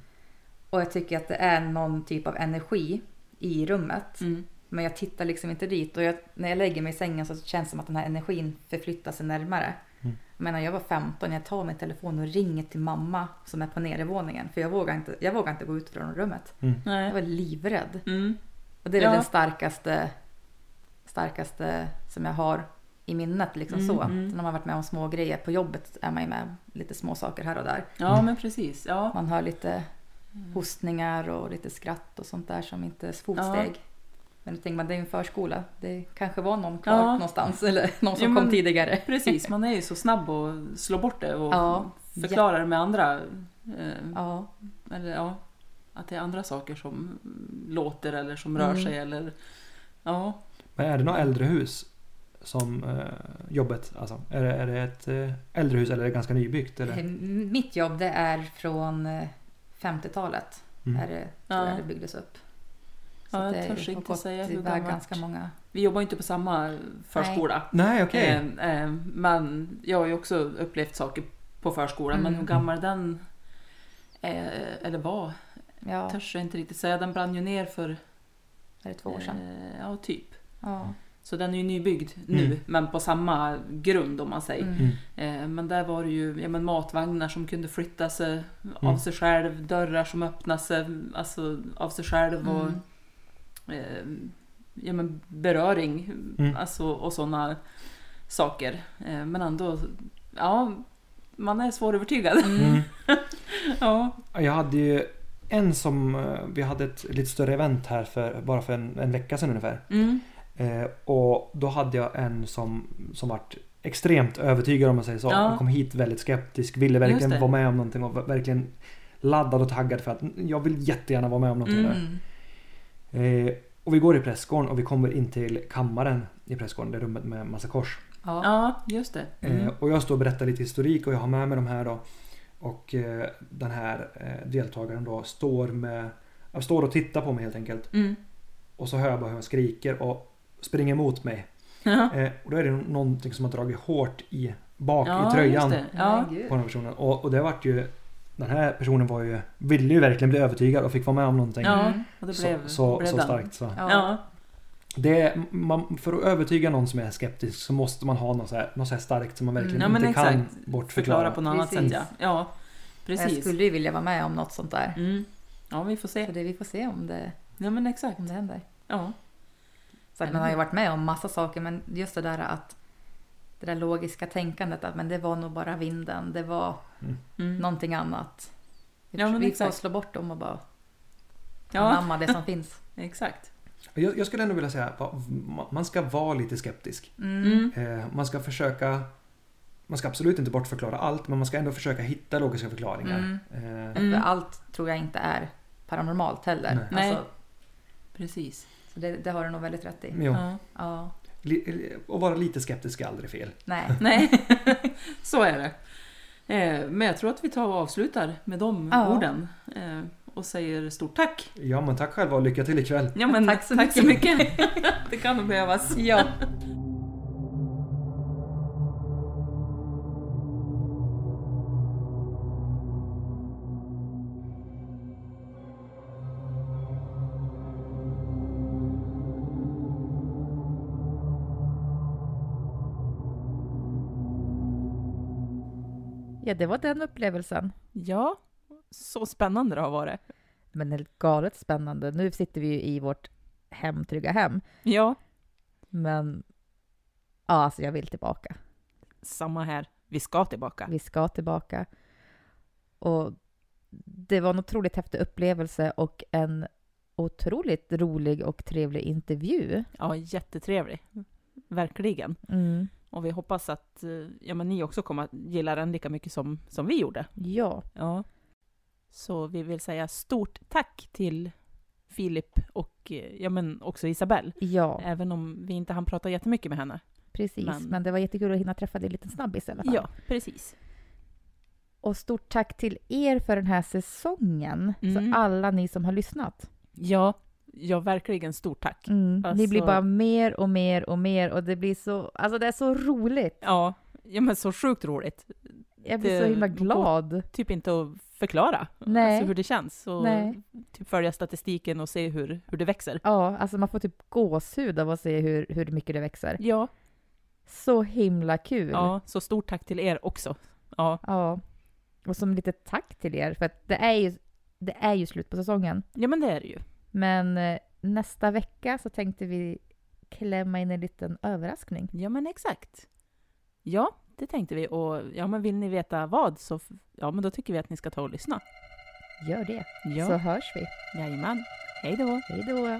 E: Och jag tycker att det är någon typ av energi i rummet.
D: Mm.
E: Men jag tittar liksom inte dit. Och jag, när jag lägger mig i sängen så känns det som att den här energin förflyttar sig närmare.
A: Mm.
E: Men när jag var 15, jag tar min telefon och ringer till mamma som är på nedervåningen. För jag vågar inte, jag vågar inte gå ut från rummet.
A: Mm.
D: Nej.
E: Jag var livrädd.
D: Mm.
E: Och det är
D: Ja.
E: det starkaste, starkaste som jag har i minnet. Liksom
D: Mm,
E: så.
D: mm.
E: Sen har man varit med om små grejer. På jobbet är man ju med om lite små saker här och där.
D: Ja, men precis. Ja.
E: Man hör lite hostningar och lite skratt och sånt där som inte fotsteg.
D: Ja.
E: Men då tänker man, det är ju en förskola. Det kanske var någon kvar
D: Ja.
E: någonstans eller någon som
D: Ja,
E: kom
D: men-
E: tidigare.
D: Precis, man är ju så snabb att slå bort det och
E: Ja.
D: förklara det med andra. eh,
E: Ja,
D: Eller ja, att det är andra saker som låter eller som rör
E: Mm.
D: sig eller ja.
A: Men är det något äldre hus som eh, jobbet? Alltså, är, det, är det ett eh, äldre hus eller är det ganska nybyggt? Eller?
E: Eh, Mitt jobb det är från eh, 50-talet.
A: Mm.
E: Är det, tror jag
D: Ja.
E: det byggdes upp.
D: Ja, jag
E: det är-
D: törs
E: har
D: inte
E: gått
D: säga hur
E: iväg
D: gammalt.
E: ganska många.
D: Vi jobbar ju inte på samma förskola.
A: Nej, okej.
D: Eh, eh, men jag har ju också upplevt saker på förskolan. Men
E: Mm.
D: hur gammal den eh, eller var
E: Ja,
D: törs jag inte riktigt säga. Den brann ju ner för
E: är det två år sedan?
D: eh, ja, typ.
E: Ja.
D: Så den är ju nybyggd nu,
A: Mm.
D: men på samma grund om man säger.
E: Mm.
A: Mm.
D: Eh, Men där var det ju ja, men matvagnar som kunde flytta sig av
A: Mm.
D: sig själv, dörrar som öppnade sig alltså, av sig själv och
E: Mm.
D: eh, ja, men beröring
A: Mm.
D: alltså, och sådana saker. Eh, Men ändå, ja, man är svårövertygad.
A: Mm.
D: ja.
A: Jag hade ju en som... eh, Vi hade ett lite större event här för bara för en, en vecka sedan ungefär.
D: Mm.
A: Eh, och då hade jag en som, som vart extremt övertygad om man säger så.
D: Ja.
A: Han kom hit väldigt skeptisk, ville
D: Just det.
A: verkligen vara med om någonting och var verkligen laddad och taggad för att jag vill jättegärna vara med om någonting där.
E: Mm.
A: Eh, och vi går i prästgården och vi kommer in till kammaren i prästgården, det rummet
D: Mm.
A: med massa kors.
E: Ja.
D: ja, just det.
A: Eh, och jag står och berättar lite historik och jag har med mig de här då. Och eh, den här eh, deltagaren då står med... Jag står och tittar på mig helt enkelt.
D: Mm.
A: Och så hör jag bara hur han skriker och springer mot mig.
D: Ja,
A: Eh, och då är det någonting som har dragit hårt i bak
D: ja
A: i tröjan
D: just det. Ja.
E: Men gud.
A: på den här personen. Och, och det vart ju... Den här personen var ju, ville ju verkligen bli övertygad och fick vara med om någonting.
D: ja, Mm. och det
A: så,
D: blev,
A: så,
D: blev
A: så
D: den.
A: starkt så. Typ
E: Ja.
D: Ja,
A: Det, man, för att övertyga någon som är skeptisk så måste man ha något så här, något så här starkt som man verkligen
D: ja men
A: inte
D: exakt.
A: kan bortförklara.
D: Förklara på något annat sätt
E: Precis.
D: ja. ja precis.
E: Jag skulle ju vilja vara med om något sånt där.
D: Mm. Ja, vi får
E: Så
D: se.
E: det, vi får se om det,
D: Ja, men exakt.
E: om det händer.
D: Ja.
E: Så att man har ju varit med om massa saker men just det där att det där logiska tänkandet att men det var nog bara vinden, det var
D: Mm.
E: någonting annat. Vi,
D: Ja,
E: får-
D: men
E: vi får
D: exakt.
E: slå bort dem och bara
D: Ja,
E: anamma det som finns.
D: exakt.
A: Jag, jag skulle ändå vilja säga att va- man ska vara lite skeptisk.
D: Mm.
A: Eh, man ska försöka man ska absolut inte bortförklara allt men man ska ändå försöka hitta logiska förklaringar.
J: Mm.
A: Eh,
J: För allt tror jag inte är paranormalt heller.
A: Nej.
B: Nej.
J: Alltså,
B: Precis.
J: så det, det har du nog väldigt rätt i.
A: Jo.
J: Ja.
A: li- Och vara lite skeptisk är aldrig fel.
J: Nej.
B: Nej, så är det. Eh, Men jag tror att vi tar och avslutar med de
J: Ja.
B: orden. Eh, Och säger stort tack!
A: Ja men tack själva och lycka till ikväll.
B: Ja, men, tack så mycket! det kan nog behövas. Ja.
E: Ja, det var den upplevelsen.
D: Ja, så spännande det har varit.
E: Men det är galet spännande. Nu sitter vi ju i vårt hem, trygga hem.
D: Ja,
E: Men ja, alltså jag vill tillbaka.
D: samma här. Vi ska tillbaka.
E: Vi ska tillbaka. Och det var en otroligt häftig upplevelse och en otroligt rolig och trevlig intervju.
D: Ja, jättetrevlig. Verkligen.
E: Mm.
D: Och vi hoppas att eh, ja, men ni också kommer att gilla den lika mycket som, som vi gjorde.
E: Ja,
D: Ja. Så vi vill säga stort tack till Filip och eh, ja, men också Isabelle.
E: ja,
D: Även om vi inte hann prata jättemycket med henne.
E: precis. Men,
D: Men-
E: det var jättekul att hinna träffa dig lite snabbis i alla fall.
D: Ja, precis.
E: Och stort tack till er för den här säsongen.
D: Mm.
E: Så alla ni som har lyssnat.
D: Ja, ja verkligen stort tack.
E: Mm. Ni
D: Alltså-
E: blir bara mer och mer och mer och det blir så, alltså det är så roligt.
D: Ja, ja men så sjukt roligt.
E: Jag blir
D: Det
E: så himla
D: går
E: glad.
D: Typ inte att förklara
E: Nej.
D: Alltså hur det känns och
E: Nej.
D: typ följa statistiken och se hur, hur det växer.
E: Ja, alltså man får typ gåshud av att se hur, hur mycket det växer.
D: Ja,
E: Så himla kul.
D: ja, så stort tack till er också. Ja,
E: Ja. Och som lite tack till er, för att det är ju, det är ju slut på säsongen.
D: ja men det är det ju.
E: Men eh, nästa vecka så tänkte vi klämma in en liten överraskning.
D: Ja men exakt. Ja, det tänkte vi och ja men vill ni veta vad så f- ja men då tycker vi att ni ska ta och lyssna.
E: Gör det,
D: Ja,
E: så hörs vi.
D: jajamän. Hej då.
E: Hej då!